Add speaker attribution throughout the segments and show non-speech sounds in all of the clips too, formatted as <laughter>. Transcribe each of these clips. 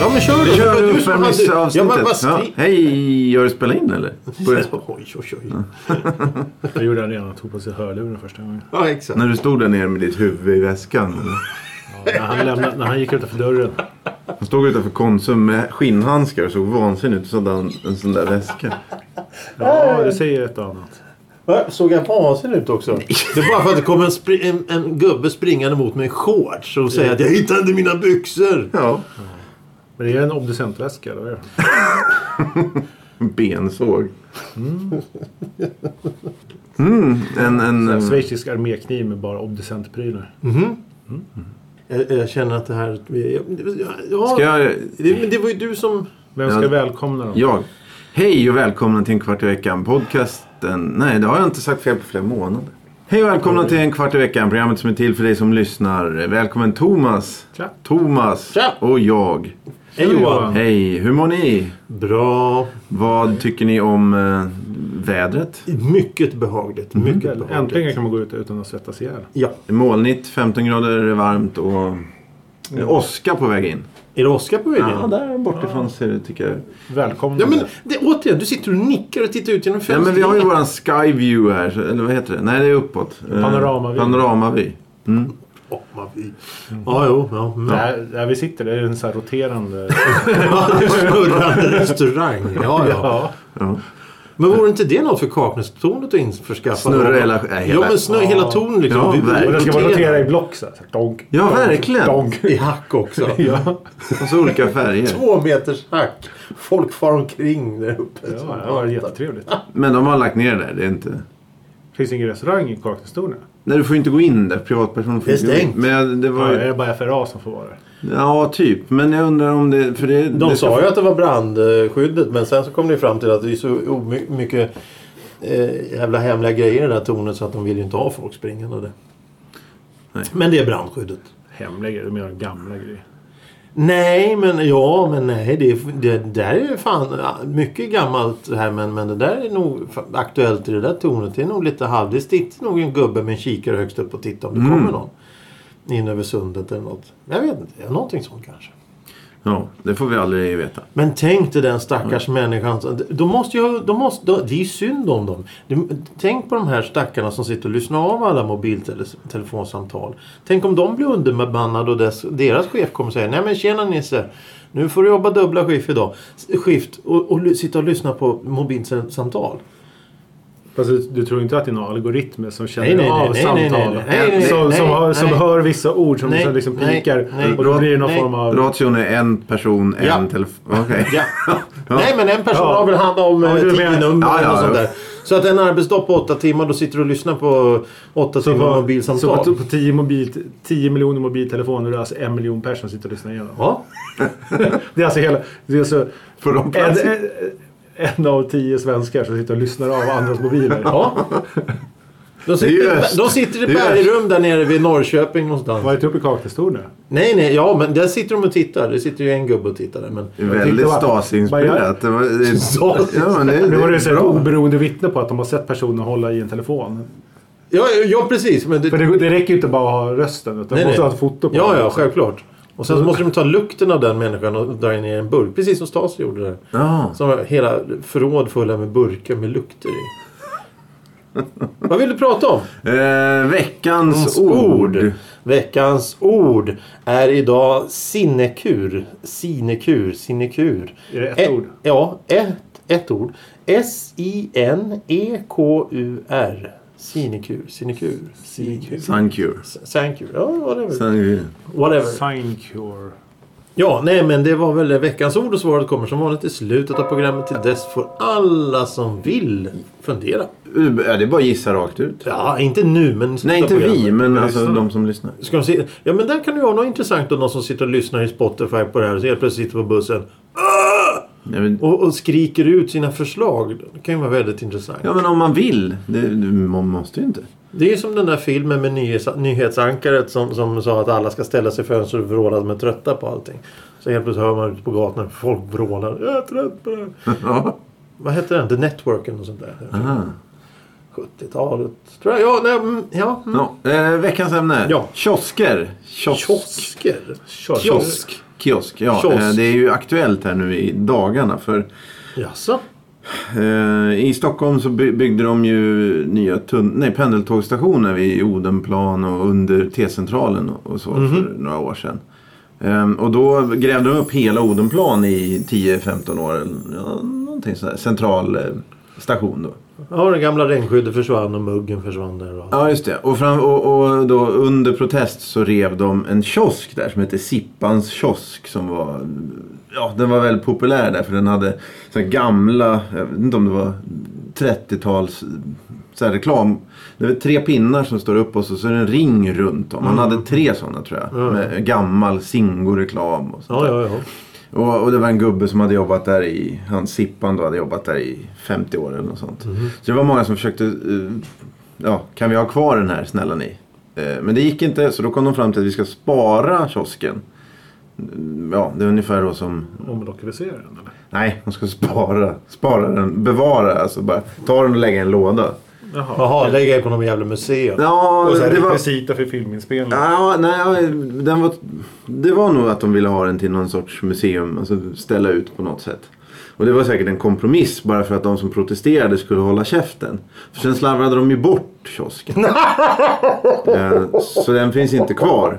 Speaker 1: Ja men kör
Speaker 2: Vi
Speaker 1: då.
Speaker 2: kör
Speaker 1: Du som hade- Ja,
Speaker 2: uppvärmningsavsnittet.
Speaker 1: men vad
Speaker 2: Ja,
Speaker 1: skri-
Speaker 2: Hej, gör du spela in eller? Börjar
Speaker 1: <laughs>
Speaker 2: spela.
Speaker 1: Oj, oj, oj.
Speaker 3: Jag gjorde det redan jag tog på sig hörluren första gången.
Speaker 1: Ja, exakt.
Speaker 2: När du stod där nere med ditt huvud i väskan. eller?
Speaker 3: När han, lämnade, när han gick utanför dörren.
Speaker 2: Han stod utanför Konsum med skinnhandskar och såg vansinnig ut. Och så hade han en sån där väska.
Speaker 3: Ja, det säger ett och annat.
Speaker 1: Va? Såg jag vansinnig ut också? Det är bara för att det kom en, spri- en, en gubbe springande mot mig i shorts och säger att jag hittade inte mina byxor.
Speaker 2: Ja,
Speaker 3: Men det är en obducentväska, eller vad är det?
Speaker 2: en bensåg. Mm, en, en,
Speaker 3: En
Speaker 2: en,
Speaker 3: schweizisk armékniv med bara obducentprylar.
Speaker 1: Jag, jag känner att det här... Ja, ja,
Speaker 2: ska jag,
Speaker 1: det, men det var ju du som...
Speaker 3: Vem ska
Speaker 2: Ja.
Speaker 3: välkomna dem?
Speaker 2: jag? Hej och välkomna till en kvart i veckan podcasten. Nej, det har jag inte sagt fel på flera månader. Hej och välkomna till en kvart i veckan. Programmet som är till för dig som lyssnar. Välkommen Thomas.
Speaker 3: Tja.
Speaker 2: Thomas.
Speaker 1: Tja.
Speaker 2: Och jag.
Speaker 1: Hej Johan!
Speaker 3: Johan.
Speaker 2: Hej, hur mår ni?
Speaker 1: Bra.
Speaker 2: Vad tycker ni om eh, vädret?
Speaker 1: Mycket behagligt.
Speaker 2: Mm.
Speaker 1: Mycket
Speaker 3: Väl,
Speaker 1: behagligt.
Speaker 3: Äntligen kan man gå ut utan att svettas ihjäl.
Speaker 1: Ja.
Speaker 2: Molnigt, 15 grader varmt och eh, åska på väg in.
Speaker 1: Är det Oskar på väg in?
Speaker 2: Ja, där bortifrån ser det tycker jag.
Speaker 3: Välkomna.
Speaker 1: Ja, men det, återigen, du sitter och nickar och tittar ut genom
Speaker 2: Ja,
Speaker 1: fönstret.
Speaker 2: men vi har ju våran skyview här, så- eller vad heter det? Nej, det är uppåt. Eh,
Speaker 3: Panoramavy.
Speaker 2: Panoramavy.
Speaker 1: Åh, vad vi- Ja, jo. Ja, men...
Speaker 3: Där, där vi sitter, det är en så
Speaker 2: <laughs>
Speaker 3: här roterande...
Speaker 1: Snurrande restaurang. Ja, ja.
Speaker 3: ja.
Speaker 1: Men vore inte det något för Kaknästornet att införskaffa?
Speaker 2: Snurra hela- nej, hela-
Speaker 1: Ja, men snurra hela tornet liksom.
Speaker 2: Ja, verkligen.
Speaker 3: Och den ska man rotera i
Speaker 1: roterar.
Speaker 3: block så här. Så här, Donk,
Speaker 2: Ja,
Speaker 3: donk,
Speaker 2: verkligen. <laughs>
Speaker 3: Donk.
Speaker 1: I hack också.
Speaker 3: Ja,
Speaker 2: Och så olika färger.
Speaker 1: Två meters hack. Folk far omkring där uppe.
Speaker 3: ja, det var jättetrevligt.
Speaker 2: Men de har lagt ner det där, det är inte...
Speaker 3: Finns ingen restaurang i Kaknästornet?
Speaker 2: Nej, du får ju inte gå in där. Privatpersoner får
Speaker 1: Det är
Speaker 2: inte gå in.
Speaker 1: stängt.
Speaker 2: Men jag- det var
Speaker 3: Ja, är
Speaker 2: ju...
Speaker 3: det bara FRA som får vara där?
Speaker 2: Ja, typ. Men jag undrar om det... För det
Speaker 1: De
Speaker 2: det ska-
Speaker 1: sa ju att det var brandskyddet men sen så kom det ju fram till att det är så omy- mycket eh, jävla hemliga grejer i det där tornet så att de vill ju inte ha folk springande där.
Speaker 2: Nej.
Speaker 1: Men det är brandskyddet.
Speaker 3: Hemliga grejer, du menar gamla grejer?
Speaker 1: Nej, men ja, men nej. Det, det där är ju fan ja, mycket gammalt det här men, men det där är nog fa- aktuellt i det där tornet. Det är nog lite halv... Det sitter nog en gubbe med en kikare högst upp och tittar om det kommer någon. In över sundet eller något. Jag vet inte. Någonting sånt kanske.
Speaker 2: Ja, det får vi aldrig veta.
Speaker 1: Men tänk dig den stackars
Speaker 3: Mm.
Speaker 1: människan. som- De måste ju, de måste, de, det är ju synd om dem. Du- Tänk på de här stackarna som sitter och lyssnar av alla mobiltelefonsamtal. Tänk om de blir underbemannade och dess, deras chef kommer säga Nej men tjena Nisse. Nu får du jobba dubbla skift idag. S- Skift och, och ly- sitta och lyssna på mobilsamtal.
Speaker 3: Fast du, du tror inte att det är några algoritmer som
Speaker 1: Nej,
Speaker 3: känner
Speaker 1: nej, nej,
Speaker 3: av
Speaker 1: nej,
Speaker 3: samtal?
Speaker 1: nej, nej, nej, nej,
Speaker 3: som
Speaker 1: nej,
Speaker 3: som, har, som
Speaker 1: nej.
Speaker 3: hör vissa ord som
Speaker 1: Nej,
Speaker 3: som liksom
Speaker 1: nej,
Speaker 3: pikar
Speaker 1: nej.
Speaker 3: och då blir det någon
Speaker 1: Nej.
Speaker 3: form av...
Speaker 2: Ration är en person, en
Speaker 1: Ja.
Speaker 2: telefon. Okej.
Speaker 1: Ja. Nej men en person
Speaker 3: Ja.
Speaker 1: har väl hand om
Speaker 3: Ja,
Speaker 1: eh,
Speaker 3: du
Speaker 1: tio
Speaker 3: menar-
Speaker 1: nummer
Speaker 2: Ja, ja,
Speaker 1: och sånt
Speaker 2: ja.
Speaker 1: där. Så att en arbetsdag på åtta timmar då sitter du och lyssnar på åtta
Speaker 3: Så
Speaker 1: timmar
Speaker 3: på-
Speaker 1: mobilsamtal.
Speaker 3: Så på, på 10, mobil, 10 miljoner mobiltelefoner, det är alltså en miljon personer som sitter och lyssnar igenom.
Speaker 1: ja.
Speaker 3: Det är alltså hela... Det är alltså
Speaker 2: Får de
Speaker 3: en,
Speaker 2: plats?
Speaker 3: en, en av tio svenskar som sitter och lyssnar av andras mobiler.
Speaker 1: Ja. De
Speaker 2: Det är ju
Speaker 1: sitter,
Speaker 2: öst.
Speaker 1: de sitter
Speaker 2: Det
Speaker 1: i
Speaker 2: är ju
Speaker 1: bergrum där nere vid Norrköping någonstans.
Speaker 3: Var inte uppe i Kaknästornet?
Speaker 1: Nej, nej, ja men där sitter de och tittar. Det sitter ju en gubbe och tittar där. Men...
Speaker 2: Det är väldigt
Speaker 3: Jag tyckte bara-
Speaker 2: Stasi-inspirerat. Det var- det-
Speaker 1: Stasi.
Speaker 2: Ja, men det,
Speaker 3: Nu var det ju
Speaker 2: det
Speaker 3: så
Speaker 2: är
Speaker 3: här
Speaker 2: bra.
Speaker 3: oberoende vittne på att de har sett personer hålla i en telefon.
Speaker 1: Ja, ja precis. Men det...
Speaker 3: För det, det räcker ju inte bara att ha rösten utan man måste ha ett foto på
Speaker 1: Ja,
Speaker 3: den.
Speaker 1: ja, självklart. Och sen så måste de ta lukten av den människan och dra in i en burk. Precis som Stasi gjorde där.
Speaker 2: Ja.
Speaker 1: Som var hela förråd fulla med burkar med lukter i. Vad vill du prata om?
Speaker 2: Eh, veckans ord.
Speaker 1: ord. Veckans ord är idag sinekur. Sinekur, sinekur.
Speaker 3: Är det ett
Speaker 1: Eh,
Speaker 3: ord?
Speaker 1: Ja, ett, ett ord. E S-I-N-E-K-U-R. Sinekur, sinekur. Sinekur.
Speaker 2: Thank you.
Speaker 1: Sankur. Ja, whatever.
Speaker 2: Thank you.
Speaker 1: whatever.
Speaker 3: Sign cure.
Speaker 1: Ja, nej men det var väl veckans ord och svaret kommer som vanligt i slutet av programmet. Till dess får alla som vill fundera.
Speaker 2: Uh, Ja, det är bara att gissa rakt ut.
Speaker 1: Ja, inte nu men... i slutet
Speaker 2: Nej,
Speaker 1: av
Speaker 2: inte
Speaker 1: programmet.
Speaker 2: vi, men alltså
Speaker 3: lyssnar.
Speaker 2: de som lyssnar.
Speaker 1: Ska de se, ja men där kan det ju vara något intressant om någon som sitter och lyssnar i Spotify på det här och så helt plötsligt sitter på bussen. "Ah!
Speaker 2: Nej, men,
Speaker 1: Och, och skriker ut sina förslag. Det kan ju vara väldigt intressant.
Speaker 2: ja, men om man vill. Det, det- man måste ju inte. <laughs>
Speaker 1: Det är som den där filmen med nyhets- nyhetsankaret som, som sa att alla ska ställa sig i fönstret och vråla att de är trötta på allting. Så helt plötsligt hör man ute på gatan att folk vrålar. Jag är trött på det här."
Speaker 2: ja.
Speaker 1: Vad hette den? The Networken och sånt där.
Speaker 2: Ah.
Speaker 1: 70-talet. Tror jag. Ja, nej, mm, ja. mm.
Speaker 2: Ja, eh, veckans ämne.
Speaker 1: Ja.
Speaker 2: Kiosker. Kiosk.
Speaker 1: Kiosker. Kiosk.
Speaker 2: Kiosk. Kiosk, ja.
Speaker 1: Kiosk.
Speaker 2: Eh, Det är ju aktuellt här nu i dagarna. För
Speaker 1: Jaså?
Speaker 2: Eh, I Stockholm så by- byggde de ju nya tun- nej, pendeltågsstationer vid Odenplan och under T-centralen och och så
Speaker 1: Mhm.
Speaker 2: för några år sedan. Ehm, och då grävde de upp hela Odenplan i 10-15 år. eller, Ja, någonting sådär. Central eh, station då.
Speaker 1: Ja, det gamla regnskyddet försvann och muggen försvann där. Och...
Speaker 2: Ja, just det. Och, fram, och, och då under protest så rev de en kiosk där som hette Sippans kiosk. Som var, ja, den var väldigt populär där för den hade så här gamla, jag vet inte om det var 30-tals så här reklam. Det var tre pinnar som står upp och så, så är det en ring runt om. Han hade tre sådana tror jag. Med gammal Singo-reklam och sånt
Speaker 1: Ja,
Speaker 2: där.
Speaker 1: ja, ja.
Speaker 2: Och, och det var en gubbe som hade jobbat där i, han Sippan då hade jobbat där i 50 år eller något sånt. Så det var många som försökte, eh, ja kan vi ha kvar den här snälla ni? Eh, men det gick inte så då kom de fram till att vi ska spara kiosken. Mm, Ja, det är ungefär då som,
Speaker 3: Omlokalisera den eller?
Speaker 2: nej de ska spara, spara den, bevara, alltså bara ta den och lägga i en låda.
Speaker 3: Jaha.
Speaker 1: Jaha, lägga er på något jävla museum.
Speaker 2: Ja,
Speaker 3: Och så här,
Speaker 2: det var...
Speaker 3: rekvisita för filminspelning.
Speaker 2: Ja, nej, den var, det var nog att de ville ha den till någon sorts museum, alltså ställa ut på något sätt. Och det var säkert en kompromiss bara för att de som protesterade skulle hålla käften. För sen slarvade de ju bort kiosken. Eh, Så den finns inte kvar.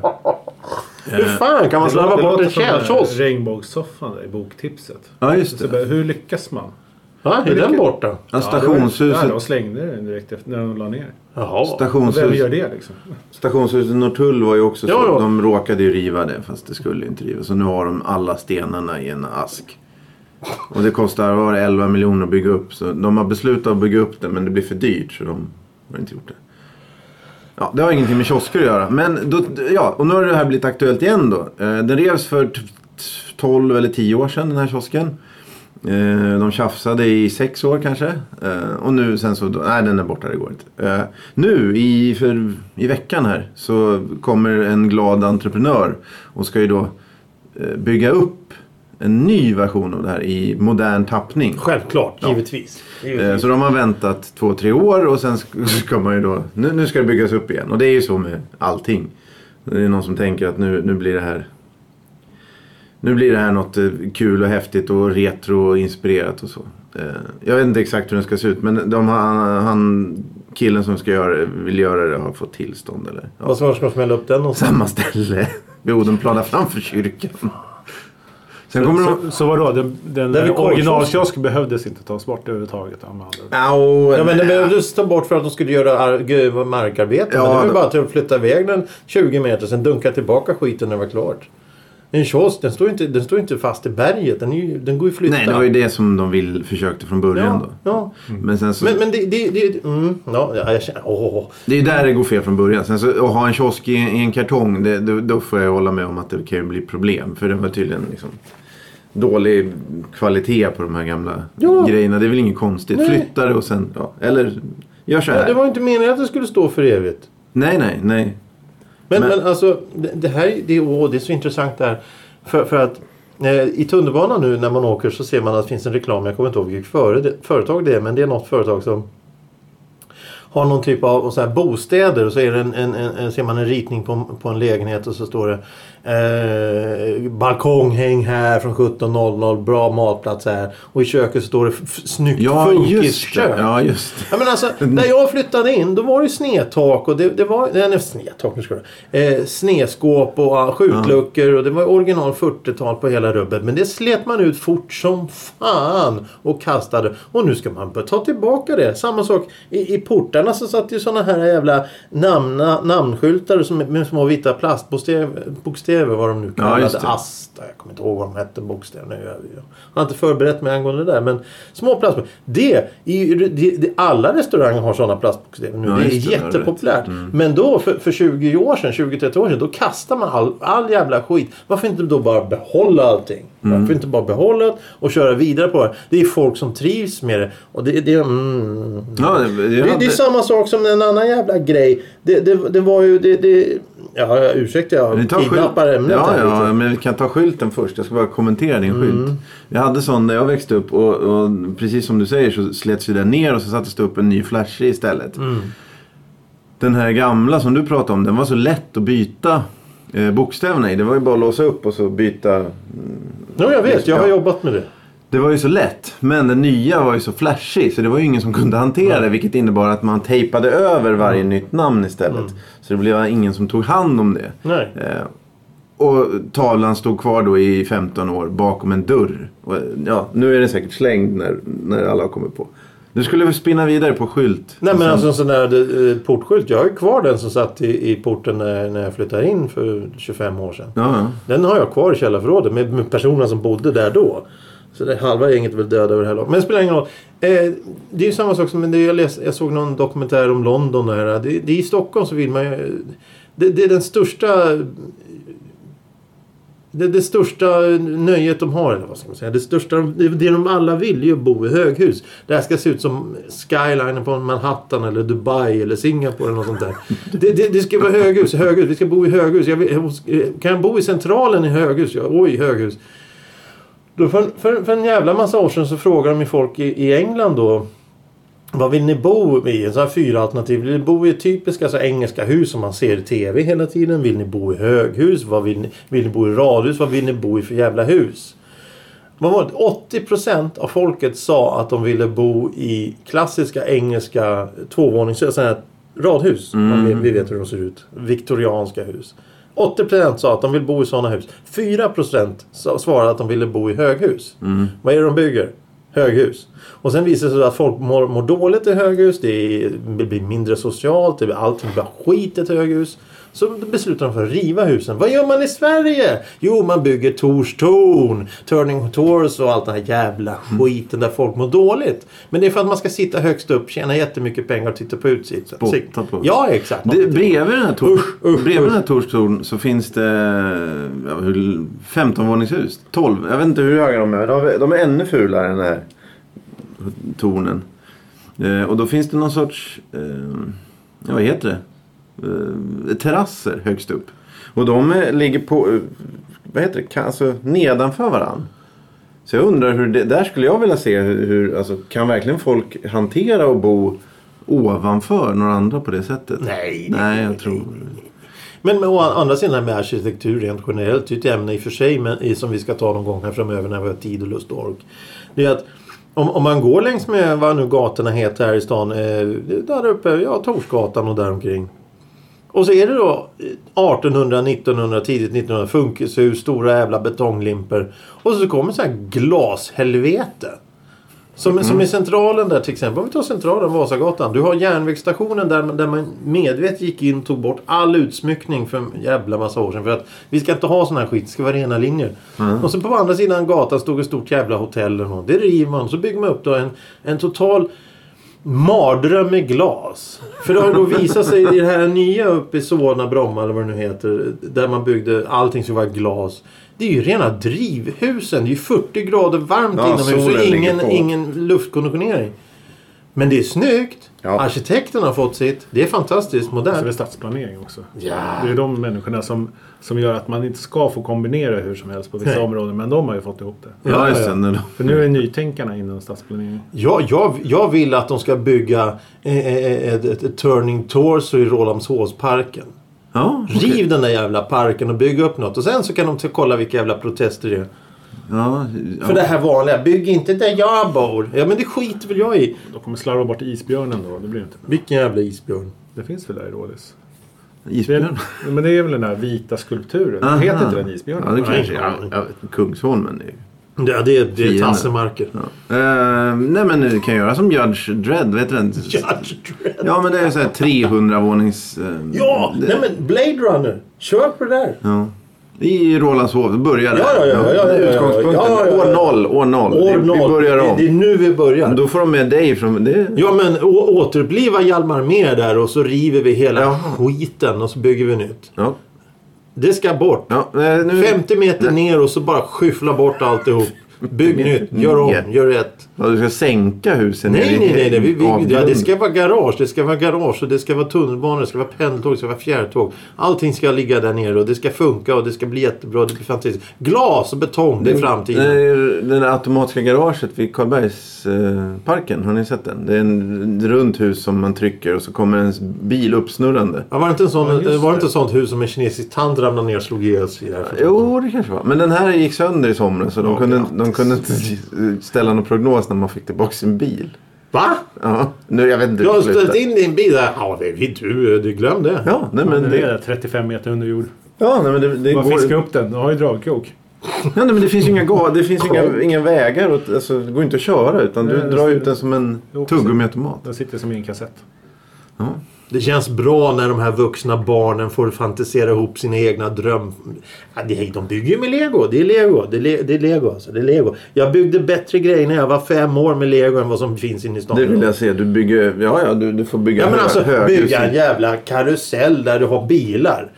Speaker 1: Hur fan kan man
Speaker 2: alltså,
Speaker 3: Det
Speaker 1: slarva
Speaker 3: låter- det
Speaker 1: bort
Speaker 3: låter
Speaker 1: en
Speaker 3: som den här
Speaker 1: kärlkiosk?
Speaker 3: Regnbågssoffan där i boktipset.
Speaker 2: Ja, just
Speaker 3: Så
Speaker 2: det.
Speaker 3: bara, hur lyckas man?
Speaker 1: Va? Är den borta?
Speaker 2: Ja,
Speaker 3: Ja,
Speaker 2: stationshuset,
Speaker 3: de slängde den direkt efter när de la ner.
Speaker 1: Jaha.
Speaker 3: Vem gör
Speaker 2: stationshuset,
Speaker 3: det liksom?
Speaker 2: stationshuset Norrtull var ju också
Speaker 1: Ja,
Speaker 2: så.
Speaker 1: ja.
Speaker 2: De råkade ju riva det fast det skulle inte rivas. Så nu har de alla stenarna i en ask. Och det kostar var det, 11 miljoner att bygga upp. Så de har beslutat att bygga upp det men det blir för dyrt så de har inte gjort det. Ja, det har ingenting med kiosker att göra. Men då, ja, och nu har det här blivit aktuellt igen då. Eh, Den revs för t- t- 12 eller 10 år sedan den här kiosken. Eh, De tjafsade i sex år kanske. Eh, Och nu sen så, nej den är borta, det går inte. Eh, Nu i, för, i veckan här så kommer en glad entreprenör och ska ju då eh, bygga upp en ny version av det här i modern tappning.
Speaker 1: Självklart, givetvis.
Speaker 2: Eh,
Speaker 1: givetvis.
Speaker 2: Så de har väntat två, tre år och sen sk- <laughs> ska man ju då, nu, nu ska det byggas upp igen. Och det är ju så med allting. Det är någon som tänker att nu, nu blir det här nu blir det här något eh, kul och häftigt och retro och inspirerat och så. Eh, Jag vet inte exakt hur den ska se ut men de, har- han, han, killen som ska göra, det- vill göra det har fått tillstånd eller? Ja, <laughs>
Speaker 1: Vad ska man smälla upp den någonstans?
Speaker 2: samma ställe. Vid Odenplana framför kyrkan. Sen kommer de...
Speaker 3: Så, så vadå? Den, den
Speaker 1: Där vid korvkiosken.
Speaker 3: originalkiosken behövdes inte tas bort överhuvudtaget. ja, med andra ord.
Speaker 2: Au,
Speaker 1: Ja, men det
Speaker 2: nej.
Speaker 1: behövdes ta bort för att de skulle göra ar- g- markarbete.
Speaker 2: Ja,
Speaker 1: men det var ju
Speaker 2: då.
Speaker 1: bara till att flytta iväg den 20 meter, sen dunka tillbaka skiten när det var klart. En kiosk, den står ju inte, den står ju inte fast i berget. Den, är ju, den går ju att flytta.
Speaker 2: Nej, det var ju det som de vill, försökte från början
Speaker 1: ja,
Speaker 2: då.
Speaker 1: ja.
Speaker 2: Men sen så...
Speaker 1: Men, men det... det, det mm, ja, ja, jag känner... Åh.
Speaker 2: Det är ju där det går fel från början. Sen så, att ha en kiosk i, i en kartong, det, då, då får jag hålla med om att det kan ju bli problem. För det var tydligen liksom dålig kvalitet på de här gamla
Speaker 1: Ja.
Speaker 2: grejerna. Det är väl inget konstigt.
Speaker 1: Nej.
Speaker 2: Flytta det och sen, ja. Eller gör så här.
Speaker 1: Ja, det var ju inte meningen att det skulle stå för evigt.
Speaker 2: Nej, nej, nej.
Speaker 1: Men,
Speaker 2: Men-
Speaker 1: men, alltså, det, det här det, är- åh, det är så intressant det här. För, för att eh, i tunnelbanan nu när man åker så ser man att det finns en reklam. Jag kommer inte ihåg vilket före det, företag det är men det är något företag som har någon typ av och så här, bostäder och så är det en, en, en, en, ser man en ritning på, på en lägenhet och så står det eh, balkonghäng här från 17.00, bra matplats här och i köket så står det f- f- snyggt
Speaker 2: Ja, just
Speaker 1: funkiskök.
Speaker 2: det. Ja, just det.
Speaker 1: Ja, men alltså, när jag flyttade in då var det ju snedtak och det, det var nej, nej, snedtak, nu ska jag, eh, snedskåp och ah, skjutluckor och det var original 40-tal på hela rubbet. Men det slet man ut fort som fan och kastade. Och nu ska man ta tillbaka det. Samma sak i, i portarna så satt ju sådana här jävla namna, namnskyltar som, med små vita plastbokstäver, bokstäver vad de nu
Speaker 2: Ja, just
Speaker 1: kallade.
Speaker 2: det.
Speaker 1: Asta. Jag kommer inte ihåg vad de hette bokstäverna. Jag har inte förberett mig angående det där. Men små plastbokstäver. Det, i, det, det, alla restauranger har sådana plastbokstäver nu.
Speaker 2: Ja,
Speaker 1: det är
Speaker 2: just det, Mm. det har du
Speaker 1: jättepopulärt. Men då för, för 20 år sedan, 20-30 år sedan, då kastar man all, all jävla skit. Varför inte då bara behålla allting?
Speaker 2: Mm.
Speaker 1: Varför inte bara behålla det och köra vidare på det? Det är folk som trivs med det. Och det, det, mm,
Speaker 2: Ja, det,
Speaker 1: det,
Speaker 2: jag
Speaker 1: det är
Speaker 2: hade-
Speaker 1: samma sak som en annan jävla grej. Det, det, det var ju... Det, det, ja, ursäkta,
Speaker 2: Vi
Speaker 1: jag
Speaker 2: tar
Speaker 1: kidnappar
Speaker 2: skylt-
Speaker 1: ämnet
Speaker 2: ja,
Speaker 1: här
Speaker 2: ja,
Speaker 1: lite.
Speaker 2: men vi kan ta skylten först. Jag ska bara kommentera din skylt. Jag hade sån när jag växte upp och, och precis som du säger så slets ju den ner och så sattes det upp en ny flashig istället. Den här gamla som du pratade om, den var så lätt att byta eh, bokstäverna i. Det var ju bara att låsa upp och så byta.
Speaker 1: Jo, jag vet. Jag har
Speaker 2: Ja.
Speaker 1: jobbat med det.
Speaker 2: Det var ju så lätt, men den nya var ju så flashig så det var ju ingen som kunde hantera det. Vilket innebar att man tejpade över varje nytt namn istället. Så det blev ingen som tog hand om det.
Speaker 1: Nej.
Speaker 2: Eh, och tavlan stod kvar då i 15 år bakom en dörr. Och, eh, ja, nu är den säkert slängd när, när alla har kommit på. Du skulle väl spinna vidare på skylt?
Speaker 1: Nej,
Speaker 2: Och
Speaker 1: men
Speaker 2: sen-
Speaker 1: alltså en sån där eh, portskylt. Jag har ju kvar den som satt i, i porten när, när jag flyttade in för 25 år sedan.
Speaker 2: Ja, ja.
Speaker 1: Den har jag kvar i källarförrådet med, med personerna som bodde där då. Så det halva gänget är väl döda över det här laget. Men det spelar ingen roll. Eh, det är ju samma sak som men det jag, läste, jag såg någon dokumentär om London. och det Här. Det, det är I Stockholm så vill man ju... Det, det är den största... Det, det största nöjet de har, eller vad ska man säga. Det, största, det, det de alla vill är ju att bo i höghus. Det här ska se ut som skylinen på Manhattan eller Dubai eller Singapore eller något sånt där. Det, det, det ska vara höghus, höghus. Vi ska bo i höghus. Jag vill, jag- kan jag bo i centralen i höghus? Ja, oj, höghus. Då för, för, för en jävla massa år sedan så frågade de ju folk i, i England då. Vad vill ni bo i? En sån här fyra alternativ. Vill ni bo i typiska alltså, engelska hus som man ser i TV hela tiden? Vill ni bo i höghus? Vad vill, ni, vill ni bo i radhus? Vad vill ni bo i för jävla hus? Vad var det? 80% av folket sa att de ville bo i klassiska engelska tvåvånings... Sådana här radhus. Man vet- Vi vet hur de ser ut. Viktorianska hus. 80% sa att de vill bo i sådana hus. 4% sa- svarade att de ville bo i höghus. Vad är det de bygger? Höghus. Och sen visar det sig att folk mår, mår dåligt i höghus. Det, är, det blir mindre socialt. Det blir allting blir skit i ett höghus. Så beslutar de för att riva husen. Vad gör man i Sverige? Jo, man bygger Tors torn, Turning Tors och allt den här jävla
Speaker 2: Mm.
Speaker 1: skiten där folk mår dåligt. Men det är för att man ska sitta högst upp, tjäna jättemycket pengar och titta på utsikten.
Speaker 2: Spotta på.
Speaker 1: Ja, exakt.
Speaker 2: Det, bredvid den här Tors-
Speaker 1: Usch, usch,
Speaker 2: bredvid den här
Speaker 1: usch.
Speaker 2: Torstorn så finns det ja, hur- 15-våningshus. 12. Jag vet inte hur höga de är. De är- De är ännu fulare än den här tornen. Eh, och då finns det någon sorts, eh, ja, vad heter det? Eh, terrasser högst upp. Och de eh, ligger på, eh, vad heter det, Ka- alltså nedanför varann. Så jag undrar hur det, där skulle jag vilja se hur, hur alltså, kan verkligen folk hantera och bo ovanför några andra på det sättet?
Speaker 1: Nej, det-
Speaker 2: Nej, jag tror
Speaker 1: Men, men å andra sidan med arkitektur rent generellt, det är ett ämne i och för sig men, i- som vi ska ta någon gång här framöver när vi har tid och lust och ork. Det är att om, om man går längs med vad nu gatorna heter här i stan, eh, där uppe, ja Torsgatan och däromkring. Och så är det då 1800, 1900, tidigt 1900 funkishus, stora jävla betonglimper. Och så kommer så här glashelvete. Som, som i centralen där till exempel. Om vi tar centralen, Vasagatan. Du har järnvägsstationen där, man- där man medvetet gick in och tog bort all utsmyckning för en jävla massa år sedan. För att vi ska inte ha sån här skit, det ska vara rena linjer. Och så på andra sidan gatan stod ett stort jävla hotell. eller något. Det river man. Så bygger man upp då en, en total mardröm med glas. För det har ju då visat sig i det här nya uppe i Solna, Bromma eller vad det nu heter. Där man byggde allting som var glas. Det är ju rena drivhusen. Det är ju 40 grader varmt
Speaker 2: Ja,
Speaker 1: inomhus
Speaker 2: solen
Speaker 1: och
Speaker 2: ligger
Speaker 1: ingen,
Speaker 2: på.
Speaker 1: ingen luftkonditionering. Men det är snyggt.
Speaker 2: Ja. Alltså,
Speaker 1: Arkitekterna har fått sitt. Det är fantastiskt
Speaker 3: Så det är
Speaker 1: modernt.
Speaker 3: stadsplanering också.
Speaker 1: Ja.
Speaker 3: Det är de människorna som, som gör att man inte ska få kombinera hur som helst på vissa
Speaker 1: Nej.
Speaker 3: områden. Men de har ju fått ihop det.
Speaker 2: Ja,
Speaker 1: Ja,
Speaker 2: just
Speaker 1: ja.
Speaker 2: det. nu då.
Speaker 3: För nu är nytänkarna inom stadsplanering.
Speaker 1: Jag, jag, jag vill att de ska bygga eh, eh, ett, ett, ett Turning Torso i Rålambshovsparken.
Speaker 2: Ja, okej.
Speaker 1: Riv den där jävla parken och bygg upp något. Och sen så kan de ta- kolla vilka jävla protester det är.
Speaker 2: ja,
Speaker 1: För
Speaker 2: ja.
Speaker 1: det här vanliga, bygg inte där jag bor. Ja men det skiter väl jag i.
Speaker 3: De kommer slarva bort isbjörnen då. Det blir ju inte bra.
Speaker 1: Vilken jävla isbjörn.
Speaker 3: Det finns väl där i Rådhus? Det
Speaker 2: Isbjörn.
Speaker 3: är, men det är väl den där vita skulpturen.
Speaker 2: Aha.
Speaker 3: Heter inte den isbjörnen?
Speaker 2: Ja, det kanske
Speaker 1: Nej.
Speaker 2: ja, jag vet inte. Kungsholmen. Det är ju...
Speaker 1: Ja det är, det är
Speaker 2: Fienden.
Speaker 1: tassemarker.
Speaker 2: Ja. Eh, nej men du kan göra som Judge Dredd, vet du den?
Speaker 1: Judge Dredd.
Speaker 2: Ja men det är så här 300 vånings... eh,
Speaker 1: Ja,
Speaker 2: det-
Speaker 1: nej men Blade Runner. Kör på det där.
Speaker 2: ja. I Rålandshov, det börjar där.
Speaker 1: Ja, ja, ja, ja, ja, ja, ja.
Speaker 2: Utgångspunkten.
Speaker 1: Ja, ja, ja.
Speaker 2: År noll, år noll.
Speaker 1: År
Speaker 2: vi,
Speaker 1: noll.
Speaker 2: vi börjar om.
Speaker 1: Det, det är nu vi börjar.
Speaker 2: Då får de med dig från... Det,
Speaker 1: Ja men å- återuppliva Hjalmar mer där och så river vi hela
Speaker 2: Ja.
Speaker 1: skiten och så bygger vi nytt.
Speaker 2: ja.
Speaker 1: Det ska bort.
Speaker 2: ja. nej, Nu,
Speaker 1: 50 meter ner och så bara skyffla bort alltihop. Bygg nytt, gör om, gör rätt.
Speaker 2: Ja, du ska sänka husen.
Speaker 1: Nej,
Speaker 2: i-
Speaker 1: nej, nej. nej. Vi, vi, ja, det
Speaker 2: avgrunden.
Speaker 1: ska vara garage, det ska vara garage och det ska vara tunnelbanor, det ska vara pendeltåg, det ska vara fjärrtåg. Allting ska ligga där nere och det ska funka och det ska bli jättebra. Det blir fantastiskt. Glas och betong, det är framtiden.
Speaker 2: Det, är det där automatiska garaget vid Karlbergsparken, eh, parken. har ni sett den? Det är en ett runt hus som man trycker och så kommer en bil uppsnurrande.
Speaker 1: Ja, var det inte, en
Speaker 3: Ja,
Speaker 1: sån,
Speaker 3: just
Speaker 1: var det
Speaker 3: det.
Speaker 1: inte ett sånt hus som en kinesisk tant ramlade ner och slog ihjäl sig i? där?
Speaker 2: Jo, det kanske var. Men den här gick sönder i somras så de,
Speaker 1: Ja,
Speaker 2: kunde,
Speaker 1: grattis.
Speaker 2: de kunde inte <laughs> ställa någon prognos när man fick tillbaka sin bil.
Speaker 1: Va?
Speaker 2: Ja, nu, jag vet inte.
Speaker 1: Du har
Speaker 2: sluta.
Speaker 1: ställt in din bil där? Ja, det är du. Du glöm det.
Speaker 2: Ja, nej, men
Speaker 3: det
Speaker 2: det,
Speaker 3: är 35 meter under jord.
Speaker 2: ja, nej, men det, det
Speaker 3: Man
Speaker 2: går...
Speaker 3: fiskar upp den. Den har ju dragkrok.
Speaker 2: Ja, nej, men det finns ju inga, ga- det finns ju inga, inga vägar. Och, alltså, det går inte att köra utan du
Speaker 3: Nej, det
Speaker 2: drar
Speaker 3: ser
Speaker 2: ut
Speaker 3: du.
Speaker 2: den som en
Speaker 3: Jo, precis.
Speaker 2: tuggummiautomat.
Speaker 3: Den sitter som i en kassett.
Speaker 1: Det känns bra när de här vuxna barnen får fantisera ihop sina egna dröm... Ja, det- De bygger ju med lego. Det är lego. Det är, le, det är lego, alltså. det är lego. Jag byggde bättre grejer när jag var fem år med lego än vad som finns inne i stan.
Speaker 2: Det vill jag se. Du bygger... Ja, ja, du, du får bygga
Speaker 1: Ja men
Speaker 2: hö-
Speaker 1: alltså
Speaker 2: höghus i-
Speaker 1: bygga en jävla karusell där du har bilar.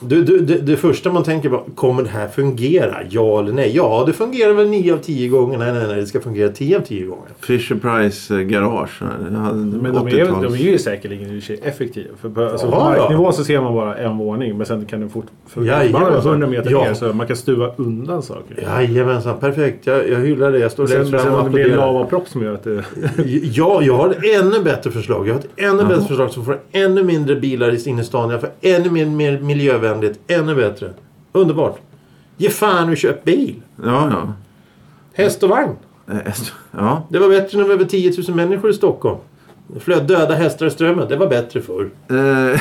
Speaker 1: Du, du, det, det första man tänker på, kommer det här fungera? Ja eller nej? Ja, det fungerar väl 9 av 10 gånger. Nej, nej, nej, det ska fungera 10 av 10 gånger.
Speaker 2: Fisher Price eh, garage.
Speaker 3: Men de är, de är ju säkerligen i och för sig effektiva. För på, alltså, på
Speaker 1: Ja, ja.
Speaker 3: marknivå så ser man bara en våning. Men sen kan den fort... För
Speaker 1: Jajamän.
Speaker 3: bara 100 meter
Speaker 1: Ja.
Speaker 3: ner så man kan stuva undan saker.
Speaker 1: Jajamensan, perfekt. Jag, jag hyllar det. Jag står
Speaker 3: Sen,
Speaker 1: längst
Speaker 3: sen
Speaker 1: fram och
Speaker 3: om det blir en
Speaker 1: applåderar.
Speaker 3: lavapropp som gör att det...
Speaker 1: <laughs> Ja, jag har ett ännu bättre förslag. Jag har ett ännu bättre förslag som får ännu mindre bilar i sin stan. Jag får ännu mer, mer miljövänligt. Ännu bättre. Underbart. Ge fan vi köp bil.
Speaker 2: Ja, ja.
Speaker 1: Häst och vagn.
Speaker 2: Eh, s- Ja,
Speaker 1: Det var bättre när vi var över 10 000 människor i Stockholm. Det flöt döda hästar i strömmen. Det var bättre förr.
Speaker 2: Eh,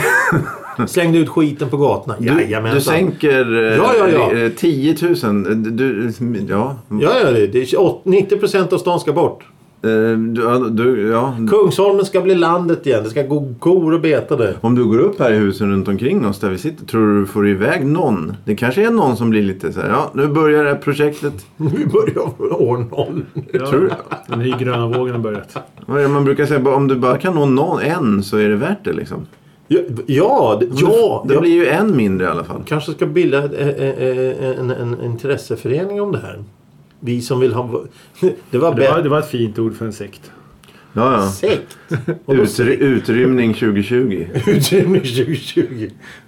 Speaker 1: Slängde ut skiten på gatorna.
Speaker 2: du, du sänker eh,
Speaker 1: Ja, ja, ja.
Speaker 2: eh, 10 000. eh, Du, ja.
Speaker 1: Ja, ja, det, det, är 80 90 procent av stan ska bort.
Speaker 2: Eh, Du, ja, du, ja.
Speaker 1: Kungsholmen ska bli landet igen. Det ska gå kor och beta där.
Speaker 2: Om du går upp här i husen runt omkring oss där vi sitter, tror du du får iväg någon? Det kanske är någon som blir lite så här, ja nu börjar det här projektet.
Speaker 1: Vi börjar från år noll.
Speaker 3: Ja,
Speaker 2: Tror du?
Speaker 3: Den här gröna vågen har börjat.
Speaker 2: Vad är det Man brukar säga, bara om du bara kan nå någon, en så är det värt det liksom.
Speaker 1: Ja, ja, det- ja,
Speaker 2: Det
Speaker 1: ja.
Speaker 2: blir ju en mindre i alla fall.
Speaker 1: kanske ska bilda eh, eh, eh, en, en, en intresseförening om det här. Vi som vill ha... <laughs> Det var
Speaker 3: Det var,
Speaker 1: bättre.
Speaker 3: det var ett fint ord för en sekt.
Speaker 2: Ja, ja.
Speaker 1: Sekt. <laughs>
Speaker 2: Utry- utrymning 2020.
Speaker 1: Utrymning 2020.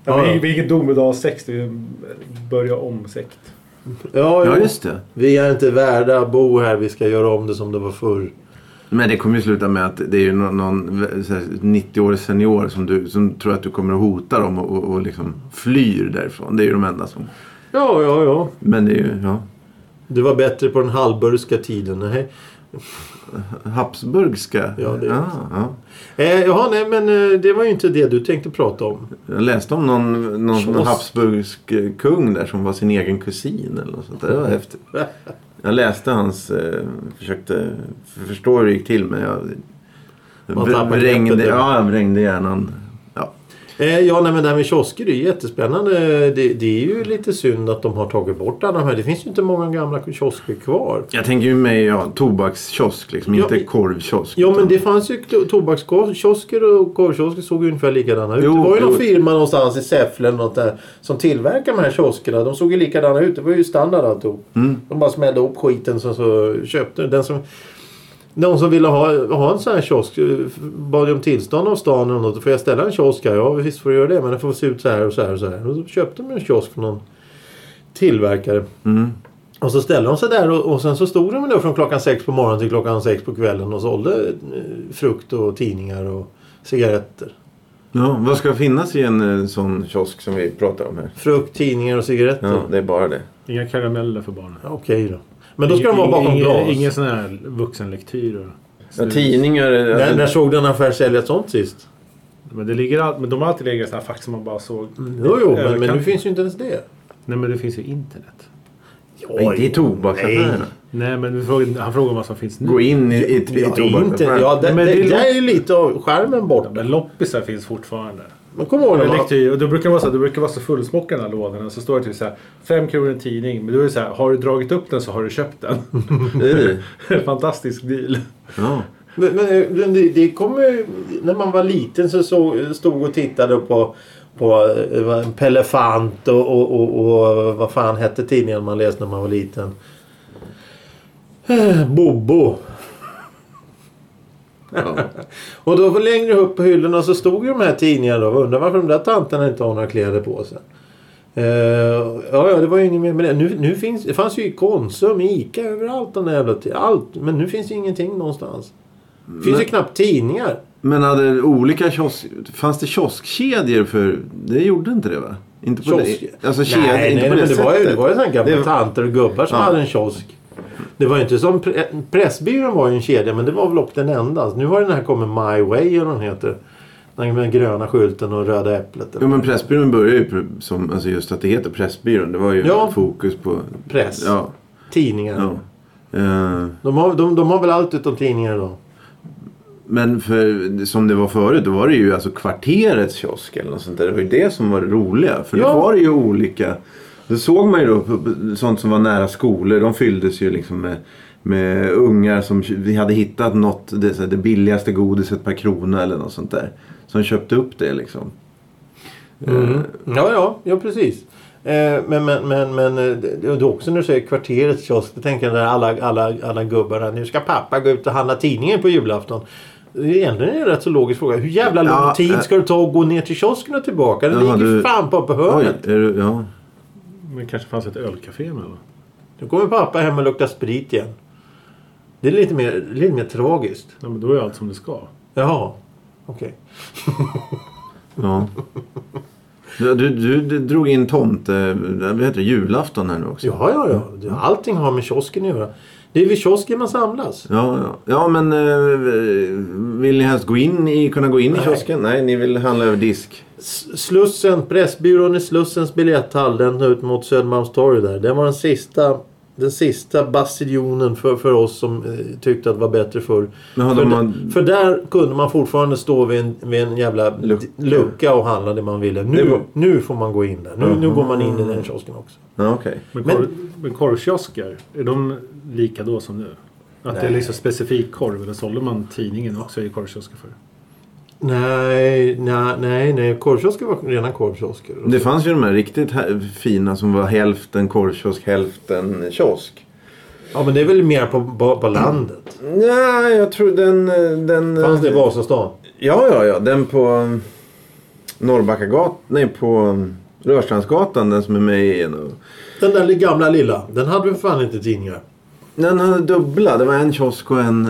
Speaker 3: Ja,
Speaker 1: Ja,
Speaker 3: vi,
Speaker 1: ja.
Speaker 3: vi är inget domedagssekt, det är en börja om-sekt.
Speaker 1: ja,
Speaker 2: Ja,
Speaker 1: jo.
Speaker 2: just det.
Speaker 1: Vi är inte värda att bo här. Vi ska göra om det som det var förr.
Speaker 2: Men det kommer ju sluta med att det är ju någon, någon så här 90-årig senior som, du, som tror att du kommer att hota dem och, och, och liksom flyr därifrån. Det är ju de enda som...
Speaker 1: Ja, ja, ja.
Speaker 2: Men det är ju... Ja.
Speaker 1: Det var bättre på den halvburska tiden. Nej.
Speaker 2: Habsburgska.
Speaker 1: Ja, det är
Speaker 2: ja,
Speaker 1: det.
Speaker 2: ja.
Speaker 1: Eh, jaha, nej, men eh, det var ju inte det du tänkte prata om.
Speaker 2: Jag läste om någon, någon, någon
Speaker 1: Schloss.
Speaker 2: Habsburgsk eh, kung där som var sin egen kusin eller något sånt. där. Det var häftigt. Jag läste hans... Eh, försökte för- förstå hur det gick till men jag...
Speaker 1: Man tappar
Speaker 2: Vrängde,
Speaker 1: greppet,
Speaker 2: ja, jag vrängde hjärnan. Ja.
Speaker 1: Eh, ja, nej, men det här med kiosker det är ju jättespännande. Det, det är ju lite synd att de har tagit bort alla de här. Det finns ju inte många gamla kiosker kvar.
Speaker 2: Jag tänker ju mig ja, tobakskiosk liksom,
Speaker 1: Ja,
Speaker 2: inte
Speaker 1: i-
Speaker 2: korvkiosk.
Speaker 1: Ja, men
Speaker 2: utan-
Speaker 1: det fanns ju to- tobakskiosker och korvkiosker såg ju ungefär likadana ut.
Speaker 2: Jo,
Speaker 1: det var ju någon
Speaker 2: jo.
Speaker 1: firma någonstans i Säffle eller något där som tillverkade de här kioskerna. De såg ju likadana ut. Det var ju standard alltihop.
Speaker 2: Mm.
Speaker 1: De bara smällde upp skiten sen så köpte den som... Någon som ville ha, ha en sån här kiosk eh, bad ju om tillstånd av stan eller något. Får jag ställa en kiosk här? Ja visst får du göra det men den får se ut så här och så här och så här. Och så köpte de en kiosk från någon tillverkare.
Speaker 2: Mm.
Speaker 1: Och så ställde de sig där och, och sen så stod de då från klockan sex på morgonen till klockan sex på kvällen och sålde eh, frukt och tidningar och cigaretter.
Speaker 2: Ja, vad ska finnas i en eh, sån kiosk som vi pratar om här?
Speaker 1: Frukt, tidningar och cigaretter.
Speaker 2: Ja, det är bara det.
Speaker 3: Inga karameller för barnen.
Speaker 1: Ja, Okej då. Men då ska de vara bakom
Speaker 3: Ingen-
Speaker 1: glas.
Speaker 3: Ingen sån här vuxenlektyr. och-
Speaker 2: Ja, tidningar... eh,
Speaker 1: När,
Speaker 2: Alltså,
Speaker 1: när såg du en affär sälja ett sånt sist?
Speaker 3: Men, det ligger all, men de har alltid legat i såna här fack som man bara såg.
Speaker 1: Jo, jo, men, men
Speaker 3: Överkant.
Speaker 1: nu finns ju inte ens det.
Speaker 3: Nej men det finns ju internet.
Speaker 2: nej, det är tobaksaffärerna.
Speaker 3: Nej men du frågar- han frågar vad som finns nu.
Speaker 2: Gå in i, i, i
Speaker 1: Ja, inte,
Speaker 2: tobaksaffären.
Speaker 1: ja, det,
Speaker 3: Men
Speaker 1: det,
Speaker 3: det
Speaker 1: det,
Speaker 3: är
Speaker 1: är ju lite av skärmen
Speaker 3: Ja,
Speaker 1: borta.
Speaker 3: men loppisar finns fortfarande.
Speaker 1: Men kom ihåg när man...
Speaker 3: Elektriker, och det brukar vara så, det brukar vara så fullsmockade den här lådorna. Så står det typ så här, fem kronor en tidning. Men då är det så här, har du dragit upp den så har du köpt
Speaker 2: <laughs>
Speaker 3: den.
Speaker 2: I.
Speaker 3: <laughs> Fantastisk deal.
Speaker 2: Ja.
Speaker 1: Men, men men det, det kommer ju- När man var liten så, så eh, stod och tittade på, på eh, vad- en Pelefant och, och, och, och vad fan hette tidningen man läste när man var liten? Eh, Bobo.
Speaker 2: Ja.
Speaker 1: <laughs> Och då var längre upp på hyllorna så stod ju de här tidningarna då. Undrar varför de där tanterna inte har några kläder på sig. Eh, ja, ja, det var ju inget mer med det. Nu, nu finns, det fanns ju i Konsum, i Ica, överallt. Den där jävla, ti- allt. Men nu finns det ingenting någonstans. Det finns ju knappt tidningar.
Speaker 2: Men hade olika kiosk... Fanns det kioskkedjor för... Det gjorde inte det va? Inte på
Speaker 1: Kiosk.
Speaker 2: det. Alltså kedjor,
Speaker 1: nej,
Speaker 2: inte
Speaker 1: nej,
Speaker 2: på
Speaker 1: men
Speaker 2: det,
Speaker 1: det var ju, det var ju sådana gamla
Speaker 2: Det-
Speaker 1: tanter och gubbar som
Speaker 2: Ja.
Speaker 1: hade en kiosk. Det var ju inte som... Pre Pressbyrån var ju en kedja men det var väl upp den enda. Nu har den här kommit My Way eller vad den heter. Den med den gröna skylten och röda äpplet.
Speaker 2: Jo men Pressbyrån började ju pr- som... Alltså just att det heter Pressbyrån. Det var ju
Speaker 1: Ja.
Speaker 2: fokus på...
Speaker 1: Press.
Speaker 2: Ja.
Speaker 1: Tidningar.
Speaker 2: ja. Eh,
Speaker 1: De, har, de, de har väl allt utom tidningar idag.
Speaker 2: men för, som det var förut, då var det ju alltså kvarterets kiosk eller något sånt där. Det var ju det som var det roliga. För
Speaker 1: Ja.
Speaker 2: då var det ju olika. Då såg man ju då på- på sånt som var nära skolor. De fylldes ju liksom med, med ungar som vi hade hittat något, det, så här, det billigaste godiset per krona eller något sånt där. Som köpte upp det liksom.
Speaker 1: Mm. Ja, ja, ja precis. Eh, Men, men, men, men eh, det det är också när du säger kvarterets kiosk. Då tänker jag där alla, alla, alla gubbarna. Nu ska pappa gå ut och handla tidningen på julafton. Det är Egentligen är det en rätt så logisk fråga. Hur jävla lång
Speaker 2: Ja,
Speaker 1: tid
Speaker 2: eh.
Speaker 1: ska det ta att gå ner till kiosken och tillbaka? Den
Speaker 2: Jaha,
Speaker 1: ligger ju
Speaker 2: du-
Speaker 1: fan på på
Speaker 2: Oj,
Speaker 1: hörnet.
Speaker 2: är du, ja.
Speaker 3: Men det kanske fanns ett ölcafé med va?
Speaker 1: Nu kommer pappa hem och luktar sprit igen. Det är lite mer, lite mer tragiskt.
Speaker 3: Nej, men då är allt som det ska.
Speaker 1: Jaha, okej.
Speaker 2: ja. Du, du, du, du drog in tomt, eh, vad heter det, julafton här nu också.
Speaker 1: Ja, ja, ja. Det- Mm. Allting har med kiosken att göra. Det är vid kiosken man samlas.
Speaker 2: Ja, ja. ja men eh, vill ni helst gå in i, kunna gå in i
Speaker 1: Nej.
Speaker 2: kiosken? Nej, ni vill handla över disk.
Speaker 1: S- Slussen, Pressbyrån i Slussens biljetthall, den ut mot Södermalmstorg där. Den var den sista, den sista bastionen för, för oss som eh, tyckte att det var bättre förr.
Speaker 2: Jaha,
Speaker 1: för,
Speaker 2: de
Speaker 1: d-
Speaker 2: har-
Speaker 1: för där kunde man fortfarande stå vid en, vid en jävla d-
Speaker 2: Lucka.
Speaker 1: lucka och handla det man ville. Nu,
Speaker 2: Det var-
Speaker 1: nu får man gå in där. Nu, nu går man in i den kiosken också.
Speaker 2: Ja, okej.
Speaker 3: Men,
Speaker 1: Men-
Speaker 3: korv, men korvkiosker, är de lika då som nu? Att det är
Speaker 1: Nej.
Speaker 3: liksom specifik korv, eller sålde man tidningen också i korvkiosker för?
Speaker 1: Nej, nej, nej. nej. Korvkiosker var rena korvkiosker.
Speaker 2: Det fanns ju de här riktigt här, fina som var hälften korvkiosk, hälften kiosk.
Speaker 1: Ja, men det är väl mer på, på, på landet.
Speaker 2: Nej, jag tror den... eh, den eh,
Speaker 1: Fanns det i Vasastan?
Speaker 2: Ja, ja, ja. Den på eh, Norrbackagatan. Nej, på eh, Rörstrandsgatan. Den som är med i nu.
Speaker 1: Den där gamla lilla, den hade vi fan inte tidningar.
Speaker 2: Den hade dubbla. Det var en kiosk och en...